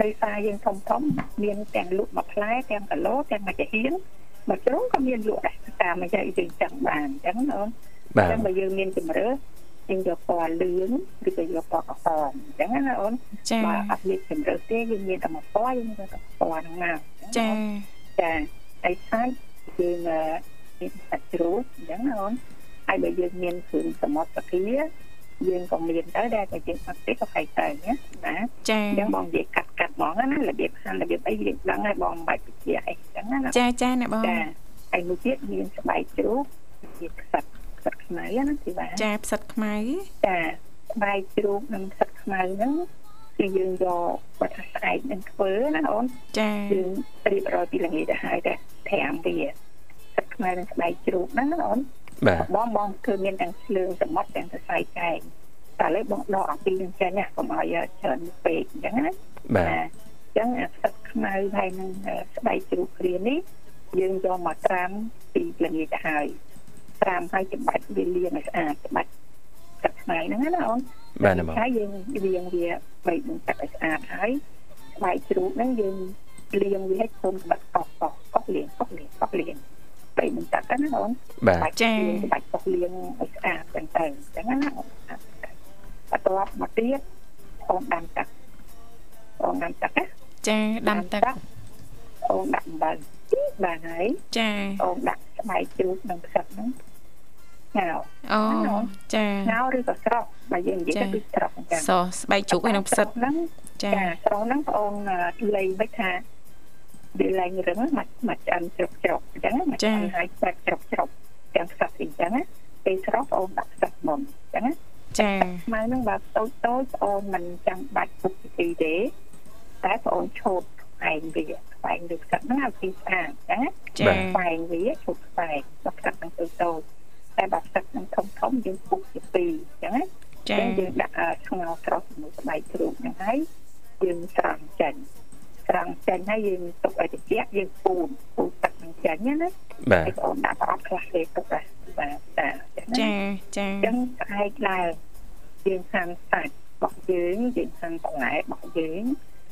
[SPEAKER 5] នៅផ្សារយើងធំធំមានទាំងលក់មួយផ្លែទាំងគីឡូទាំងមួយចាហៀងមួយជ្រុងក៏មានលក់ដែរតាមមួយយ៉ាងយើងចង់បានអញ្ចឹងណាអូន
[SPEAKER 2] បាទ
[SPEAKER 5] ចឹងបើយើងមានជំរើសយើងយកពណ៌លឿងឬក៏យកពណ៌ក្រហមអញ្ចឹងណាអូន
[SPEAKER 1] ចា
[SPEAKER 5] បើអត់មានជំរើសទេយើងមានតែមួយពណ៌យើងយកតែពណ៌ហ្នឹងមក
[SPEAKER 1] ចា
[SPEAKER 5] ចាហើយឆាយយើងអឺមានសាច់ជ្រូកអញ្ចឹងណាអូនហើយបើយើងមានគ្រឿងសមុទ្រសាគាយើងក៏មានដែរដែលតែយើងអត់ទេក៏ផ្សេងទៅណាណា
[SPEAKER 1] ចា
[SPEAKER 5] អញ្ចឹងបងនិយាយកាត់កាត់ហ្មងណារបៀបហាន់របៀបអីយើងដឹងហើយបងមិនបាច់បញ្ជាក់អីអញ្ចឹងណា
[SPEAKER 1] ចាចាអ្នកបង
[SPEAKER 5] ចាហើយមួយទៀតមានស្បែកជ្រូកមានខ្សាត់ខ្សាត់ខ្មៅណាទីបាន
[SPEAKER 1] ចាផ្សិតខ្មៅ
[SPEAKER 5] ចាស្បែកជ្រូកនិងខ្សាត់ខ្មៅហ្នឹងគឺយើងយកបាត់ថាស្អែកនឹងធ្វើណាអូន
[SPEAKER 1] ចា
[SPEAKER 5] យើងរៀបរយពីល្ងាចទៅហើយតែត្រាំវាខ្សាត់ខ្មៅនិងស្បែកជ្រូកហ្នឹងណាអូន
[SPEAKER 2] បាទ
[SPEAKER 5] បងបងគឺមានទាំងឆ្លឿងសមុទ្រទាំងសរសៃកែងតែឥឡូវបងដកអំពីនឹងចេញណាកុំឲ្យច្រើនពេកអញ្ចឹងណា
[SPEAKER 2] បាទ
[SPEAKER 5] អញ្ចឹងអាផ្សិតខ្មៅហើយនឹងស្បែកជ្រូកព្រាននេះយើងយកមកត្រាំពីល្ងាចទៅហើយត្រាំហើយច្បាច់វាលាងឲ្យស្អាតច្បាច់ស្ទឹកខ្មៅហ្នឹងណាអូន
[SPEAKER 2] បាទណាបង
[SPEAKER 5] ហើយយើងលាងវាបីនឹងទឹកឲ្យស្អាតហើយស្បែកជ្រូកហ្នឹងយើងលាងវាឲ្យខ្លួនក្បាច់កោះកោះកោះលាងកោះលាងកោះលាងបីនឹងទឹកហ្នឹងណាអូន
[SPEAKER 2] បាទ
[SPEAKER 5] បាច់លាងបាច់កោះលាងឲ្យស្អាតទាំងទៅអញ្ចឹងណាបន្ទាប់មកទៀតអូនដាំទឹកអូនដាំទឹកណា
[SPEAKER 1] ចាដាំទឹក
[SPEAKER 5] អូនដាក់អំបិលបានហើយ
[SPEAKER 1] ចា
[SPEAKER 5] អូនដាក់ស្បែកជ្រូកនិងផ្សិតហ្នឹងញ៉ៅ
[SPEAKER 1] អូចា
[SPEAKER 5] ញ៉ៅឬក៏ស្រស់បើយើងនិយាយទៅគឺស្រស់អញ្ចឹង
[SPEAKER 1] សស្បែកជ្រូកហើយនឹងផ្សិត
[SPEAKER 5] ហ្នឹង
[SPEAKER 1] ចា
[SPEAKER 5] ចាស្រស់ហ្នឹងបងលេងបិចថាវាលេងរឹងមកមកឆ្អិនជ្រុកជ្រុកអញ្ចឹងមកឆ្អិនហើយស្បែកជ្រុកជ្រុកទាំងផ្សិតអញ្ចឹងណាពេលស្រស់បងដាក់ផ្សិតមុនអញ្ចឹងណា
[SPEAKER 1] ចា
[SPEAKER 5] ខ្មៅហ្នឹងបើតូចតូចប្អូនមិនចាំបាច់ពុកវិធីទេតែប្អូនឈប់ខ្វែងវាខ្វែងវាស្ទឹកហ្នឹងឲ្យពីស្អាតចឹងណា
[SPEAKER 1] ចា
[SPEAKER 5] ខ្វែងវាឈប់ខ្វែងដល់ស្ទឹកហ្នឹងតូចតូចតែបើស្ទឹកហ្នឹងធំធំយើងពុកជាពីរចឹងណា
[SPEAKER 1] ចា
[SPEAKER 5] អញ្ចឹងយើងដាក់អឺស្ងោរស្រស់ជាមួយស្បែកជ្រូកហ្នឹងហើយយើងស្រង់ចេញស្រង់ចេញហើយយើងទុកឲ្យត្រជាក់យើងពូនពូនទឹកហ្នឹងចេញណាណា
[SPEAKER 2] បាទ
[SPEAKER 5] ឲ្យប្អូនដាក់ប្រអប់ខ្លះទេទុកដែរបាទតាចឹងណា
[SPEAKER 1] ចាចា
[SPEAKER 5] អញ្ចឹងស្អែកឡើងយើងហាន់សាច់របស់យើងយើងហាន់បន្លែរបស់យើង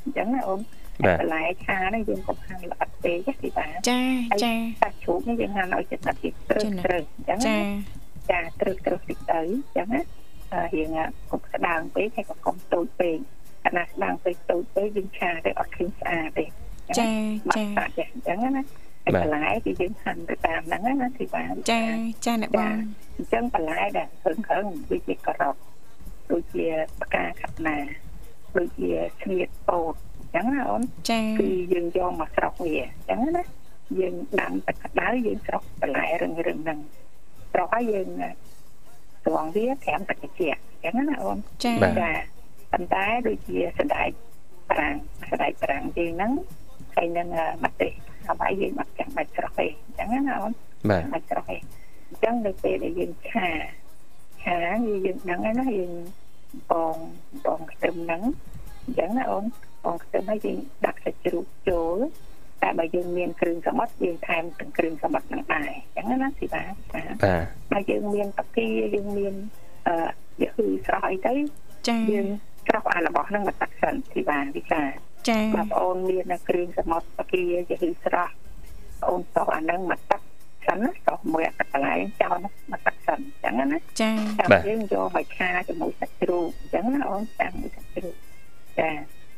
[SPEAKER 5] អញ្ចឹងណាអូន
[SPEAKER 2] បាទ
[SPEAKER 5] បន្លែឆាហ្នឹងយើងកុំហាន់ល្អិតពេកទេបាទ
[SPEAKER 1] ចាចា
[SPEAKER 5] សាច់ជ្រូកនេះយើងហាន់ឲ្យចិត្តតិចត្រឹមត្រឹមអ
[SPEAKER 1] ចា
[SPEAKER 5] ញ្ចឹងណា ចាត្រឹកត្រឹកតិចទៅអញ្ចឹងណាហើយរៀងកុំស្ដាងពេកហើយកុំតូចពេកអាណាស្ដាងពេកតូចពេកយើងឆាទៅអត់ឃើញស្អាតទេ
[SPEAKER 1] ចា
[SPEAKER 5] បា
[SPEAKER 1] ចា
[SPEAKER 5] ត់ស្អាតទេអញ្ចឹងណាហើ
[SPEAKER 2] បា
[SPEAKER 5] យ
[SPEAKER 2] ទ
[SPEAKER 5] បន្លែគឺយើងហាន់ទៅតាមហ្នឹងណាណាទីបាន
[SPEAKER 1] ចាចាអ្នកបង
[SPEAKER 5] អញ្ចឹងបន្លែដែលគ្រឿងគ្រឿងដូចជាការ៉ុតដូចជាផ្កាខាត់ណាដូចជាស្ងៀតពោតអញ្ចឹងណាអូន
[SPEAKER 1] ចា
[SPEAKER 5] គឺយើងយកមកស្រុកវាអញ្ចឹងណាយើងដាំទឹកក្តៅយើងស្រុកបន្លែរឹងរឹងហ្នឹងស្រុកហើយយើងស្រង់វាត្រាំទឹកត្រជាក់អញ្ចឹងណាអូន
[SPEAKER 1] ចា
[SPEAKER 2] បាទ
[SPEAKER 5] ប៉ុន្តែដូចជាសណ្តែកប្រាំងសណ្តែកប្រាំងយើងហ្នឹងហើយនឹងអឺម្ទេសហើយបាយយើងអត់ចាំបាច់ស្រុកទេអញ្ចឹងណាអូន
[SPEAKER 2] បាទ
[SPEAKER 5] អាចស្រោះឯងអញ្ចឹងនៅពេលដែលយើងឆាឆាគឺយើងដឹងហើយណាយើងបងបងខ្ទឹមហ្នឹងអញ្ចឹងណាអូនបងខ្ទឹមហើយយើងដាក់សាច់ជ្រូកចូលតែបើយើងមានគ្រឿងសមុទ្រយើងថែមទាំងគ្រឿងសមុទ្រហ្នឹងដែរអញ្ចឹងណាស៊ីបាចា
[SPEAKER 2] បាទ
[SPEAKER 5] បើយើងមានតាគីយើងមានអឺយកគឺស្រោះអីទៅ
[SPEAKER 1] ចា
[SPEAKER 5] យើងស្រោះអារបស់ហ្នឹងមកដាក់សិនស៊ីបាវិចា
[SPEAKER 1] ចា
[SPEAKER 5] បងប្អូនមានគ្រឿងសមុទ្រតាគីយឺស្រស់បងអូនតោះអាហ្នឹងមកទឹកសិនណាតោះមួយអាកន្លែងចោលមកទឹកសិនអញ្ចឹងណា
[SPEAKER 1] ចា
[SPEAKER 5] ចាំយើងយកមកឆាជាមួយសាច់ជ្រូកអញ្ចឹងណាអូនចាំមួយសាច់ជ្រូកចា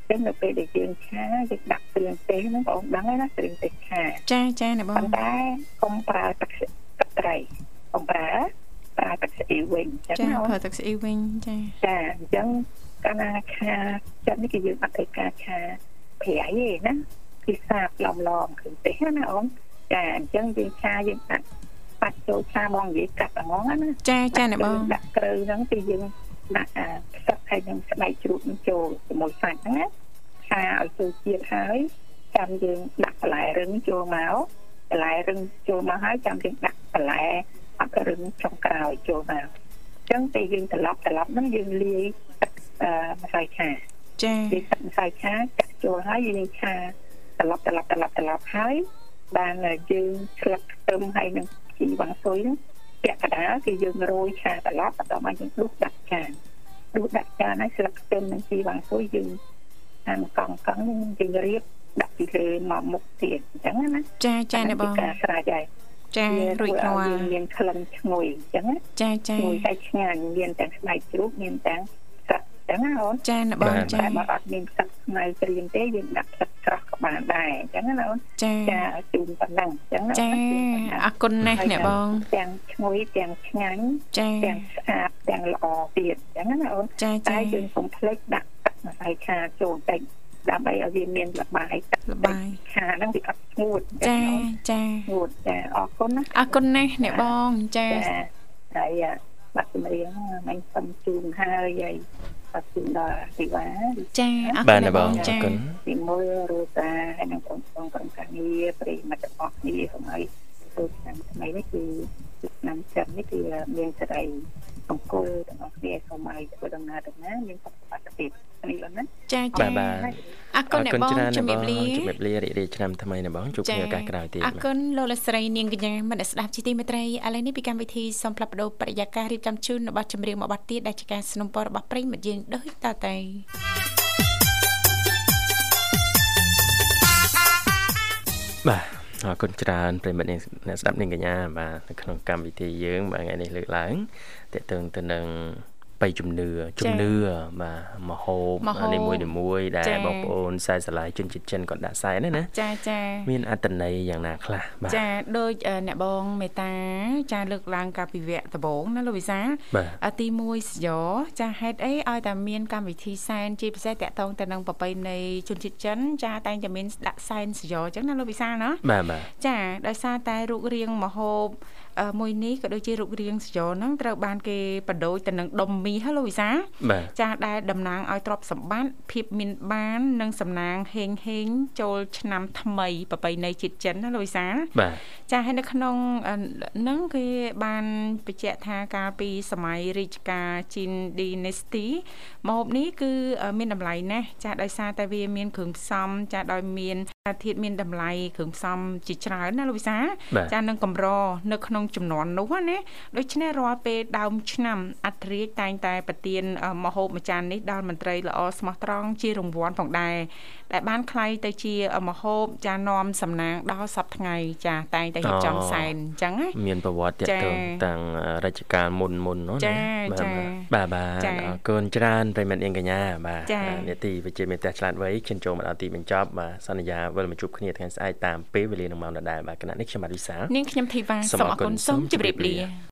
[SPEAKER 5] ចឹងនៅពេលដែលយើងឆាយើងដាក់គ្រឿងទេសហ្នឹងបងអូនដឹងហើយណាគ្រឿងទេសឆា
[SPEAKER 1] ចាចាអ្នកបង
[SPEAKER 5] ប៉ុន្តែកុំប្រើទឹកស្ទឹកត្រីកុំប្រើប្រើទឹកស្អ៊ីវវិញអញ្ចឹ
[SPEAKER 1] ចា
[SPEAKER 5] ងណាអូន
[SPEAKER 1] ប្រើទឹកស្អ៊ីវិញចា
[SPEAKER 5] ចាអញ្ចឹងកាលណាឆាចិត្តនេះគឺយើងអត់ធ្វើការឆាប្រៃទេណាគឺសាបឡំឡំគ្រឿងទេសណាអូនចាអញ្ចឹងយើងឆាយើងដាក់បាច់ចូលឆាហ្មងនិយាយកាត់ហ្មងណា
[SPEAKER 1] ចាចាអ្នកបង
[SPEAKER 5] ដាក់គ្រូហ្នឹងគឺយើងដាក់អាផ្សិតហើយនឹងស្បែកជ្រូកនឹងចូលជាមួយសាច់ហ្នឹងណាឆាឲ្យចូលជាតិហើយចាំយើងដាក់បន្លែរឹងចូលមកបន្លែរឹងចូលមកហើយចាំយើងដាក់បន្លែអត់រឹងចុងក្រោយចូលមក អញ្ចឹងពេលយើងត្រឡប់ត្រឡប់ហ្នឹងយើងលាយទឹកអឺម្សៅឆា
[SPEAKER 1] ចា
[SPEAKER 5] លាយទឹកម្សៅឆាចាក់ចូលហើយយើងឆាត្រឡប់ត្រឡប់ត្រឡប់ត្រឡប់ហើយបានយើងឆ្លឹកខ្ទឹមហើយនឹងជីវ៉ាន់ស៊ុយហ្នឹងពាក់កណ្ដាលគឺយើងរោយឆាត្រឡប់បន្ទាប់មកយើងដួសដាក់ចានដួសដាក់ចានហើយឆ្លឹកខ្ទឹមនិងជីវ៉ាន់ស៊ុយយើងអានកង់កង់ហ្នឹងយើងរៀបដាក់ពីលើមកមុខទៀតអញ្ចឹងណា
[SPEAKER 1] ចាចាអ្នកបង
[SPEAKER 5] ជាការស្រេចហើយ
[SPEAKER 1] ចារួចរា
[SPEAKER 5] វាធ្វើ
[SPEAKER 1] ល់
[SPEAKER 5] ឲ្យយើងមានក្លិនឈ្ងុយអញ្ចឹងណា
[SPEAKER 1] ចាចា
[SPEAKER 5] មួយតែឆ្ងាញ់មានទាំងស្បែកជ្រូកមានទាំងសឹកចឹងណាអូន
[SPEAKER 1] ចាអ្នកបងចា
[SPEAKER 5] តែបើអត់មានសឹកស្មៅព្រៀងទេយើងដាក់សឹកស្រស់ក៏បានដែរអញ្ចឹងណាអូន
[SPEAKER 1] ចា
[SPEAKER 5] ចាឲ្យជូនប៉ុណ្ណឹងអញ្ចឹងណា
[SPEAKER 1] ចាអរគុណណាស់អ្នកបង
[SPEAKER 5] ទាំងឈ្ងុយទាំងឆ្ងាញ់
[SPEAKER 1] ចា
[SPEAKER 5] ទាំងស្អាតទាំងល្អទៀតអញ្ចឹងណាអូន
[SPEAKER 1] ចា
[SPEAKER 5] តែ
[SPEAKER 1] ចា
[SPEAKER 5] យើងកុំភ្លេចដាក់ទឹកម្សៅឆាចូលតិចដើម្បីឲ្យវាមានលបាយទឹក
[SPEAKER 1] លបាយ
[SPEAKER 5] ឆាហ្នឹងវាអត់ស្ងួត
[SPEAKER 1] ចាចា
[SPEAKER 5] ស្ងួតចាអរគុណណា
[SPEAKER 1] អរគុណណាស់អ្នកបងចា
[SPEAKER 5] ចាហើយអាបាត់ចម្រៀងមិញសុំជូនហើយហើយបាត់ជូនដល់សិវា
[SPEAKER 1] ចាអរគុ
[SPEAKER 2] បាទ
[SPEAKER 1] ណ
[SPEAKER 2] ណា
[SPEAKER 1] អ្នក ក
[SPEAKER 2] ប
[SPEAKER 1] បង ង
[SPEAKER 2] អរ
[SPEAKER 1] ចា
[SPEAKER 2] គុណ
[SPEAKER 5] ទីមួយរោតាហើយនិងបងបងក្រុមការងារប្រិយមិត្តរបស់គ្នាខ្ញុំឲ្យចូលឆ្នាំថ្មីនេះគឺឆ្នាំចិននេះគឺមានសេរីសង្គមទាំងអស់គ្នាសូមឲ្យធ្វើដំណើរដំណើរមានសុខភាពនេះលោកណា
[SPEAKER 1] ចា
[SPEAKER 2] បា
[SPEAKER 1] ចា
[SPEAKER 2] ទបាទ
[SPEAKER 1] អរគុណអ្នកបងជំរាបលា
[SPEAKER 2] ជំរាបលារីករាយឆ្នាំថ្មីណាបងជួបគ្នាឱកាសក្រោយទៀត
[SPEAKER 1] អរគុណលោកលកស្រីនាងកញ្ញាមនស្ដាប់ជីទីមេត្រីឥឡូវនេះពីកម្មវិធីសូមផ្លាប់បដោប្រយាកររៀបចំជូនរបស់ចម្រៀងមួយបទទៀតដែលជាការสนับสนุนរបស់ប្រិយមិត្តយើងដូចតទៅ
[SPEAKER 2] បាទអរគុណច្រើនប្រិយមិត្តអ្នកអ្នកស្ដាប់នាងកញ្ញាបាទនៅក្នុងកម្មវិធីយើងបាទថ្ងៃនេះលើកឡើងតកតឹងទៅនឹងបៃជំនឿជំនឿបាទមហោបនីមួយនីមួយៗដែលបងប្អូនខ្សែស្រឡាយជនជាតិចិនគាត់ដាក់ខ្សែហ្នឹងណា
[SPEAKER 1] ចាចា
[SPEAKER 2] មានអត្តន័យយ៉ាងណាខ្លះបាទ
[SPEAKER 1] ចាដូចអឺអ្នកបងមេតាចាលើកឡើងការពិវៈដំបងណាលោកវិសាល
[SPEAKER 2] បាទ
[SPEAKER 1] អទី1សយោចាហេតុអីឲ្យតែមានកម្មវិធីសែនជាពិសេសតកតងទៅនឹងប្រពៃណីជនជាតិចិនចាតែងតែមានដាក់សែនសយោអញ្ចឹងណាលោកវិសាលណា
[SPEAKER 2] បាទបាទ
[SPEAKER 1] ចាដោយសារតែរូបរាងមហូបអឺមួយនេះក៏ដូចជារូបរាងសយោហ្នឹងត្រូវបានគេបដូរទៅនឹងដុំមីហ៎លោកវិសា
[SPEAKER 2] បាទ
[SPEAKER 1] ចាដែលតំណាងឲ្យទ្រព្យសម្បត្តិភាពមានបាននិងសំណាងហេងហេងចូលឆ្នាំថ្មីប្របីនៃជាតិចិនណាលោកវិសា
[SPEAKER 2] បាទ
[SPEAKER 1] ចាហើយនៅក្នុងអឺហ្នឹងគេបានបញ្ជាក់ថាកាលពីសម័យរាជការជីនឌីនេស្ទីមហូបនេះគឺអឺមានតម្លៃណាស់ចាដោយសារតែវាមានគ្រឿងផ្សំចាដោយមាន
[SPEAKER 6] ធាតមានតម្លៃគ្រឿងផ្សំជាច្រើនណាលោកវិសា
[SPEAKER 2] បាទ
[SPEAKER 6] ចានឹងកម្រនៅក្នុងចំនួននោះណាដូច្នេះរាល់ពេលដើមឆ្នាំអធិរាជតែងតែប្រទានអឺមហូបមួយចាននេះដល់មន្ត្រីល្អស្មោះត្រង់ជារង្វាន់ផងដែរដែលបានខ្ល้ายទៅជាអឺមហូបចានាំសំណាងដល់សប្តាហ៍ថ្ងៃចាតែងតែរៀបចំ
[SPEAKER 2] អូ
[SPEAKER 6] សែនអញ្ចឹងណា
[SPEAKER 2] មានប្រវត្តិតាក់
[SPEAKER 6] ចា៎
[SPEAKER 2] ទងតាំងរជ្ជកាលមុនមុនហ្នឹង
[SPEAKER 6] ចា
[SPEAKER 2] ណា
[SPEAKER 6] ចា
[SPEAKER 2] បាទបាទ
[SPEAKER 6] ចា
[SPEAKER 2] បាទអរគុណច្រើនប្រិយមិត្តនាងកញ្ញាបាទ
[SPEAKER 6] ចា
[SPEAKER 2] អានាទីវិជ្ជាមេផ្ទះឆ្លាតវៃឈានចូលមកដល់ទីបញ្ចប់បាទសន្យាវិលមកជួបគ្នាថ្ងៃស្អែកតាមពេលវេលានឹងម៉ោងដដែលបាទគណៈនេះខ្ញុំបាទវិសាល
[SPEAKER 6] នាងខ្ញុំធីវ៉ា
[SPEAKER 2] សូម
[SPEAKER 6] សូ
[SPEAKER 2] អរគុ
[SPEAKER 6] មអរគុ
[SPEAKER 2] ណ
[SPEAKER 6] ណ
[SPEAKER 2] សូ
[SPEAKER 6] សូ
[SPEAKER 2] ម
[SPEAKER 6] ម
[SPEAKER 2] ជ
[SPEAKER 6] ជ
[SPEAKER 2] ម្រា
[SPEAKER 6] ម្រា
[SPEAKER 2] ប
[SPEAKER 6] ប
[SPEAKER 2] លា
[SPEAKER 6] លា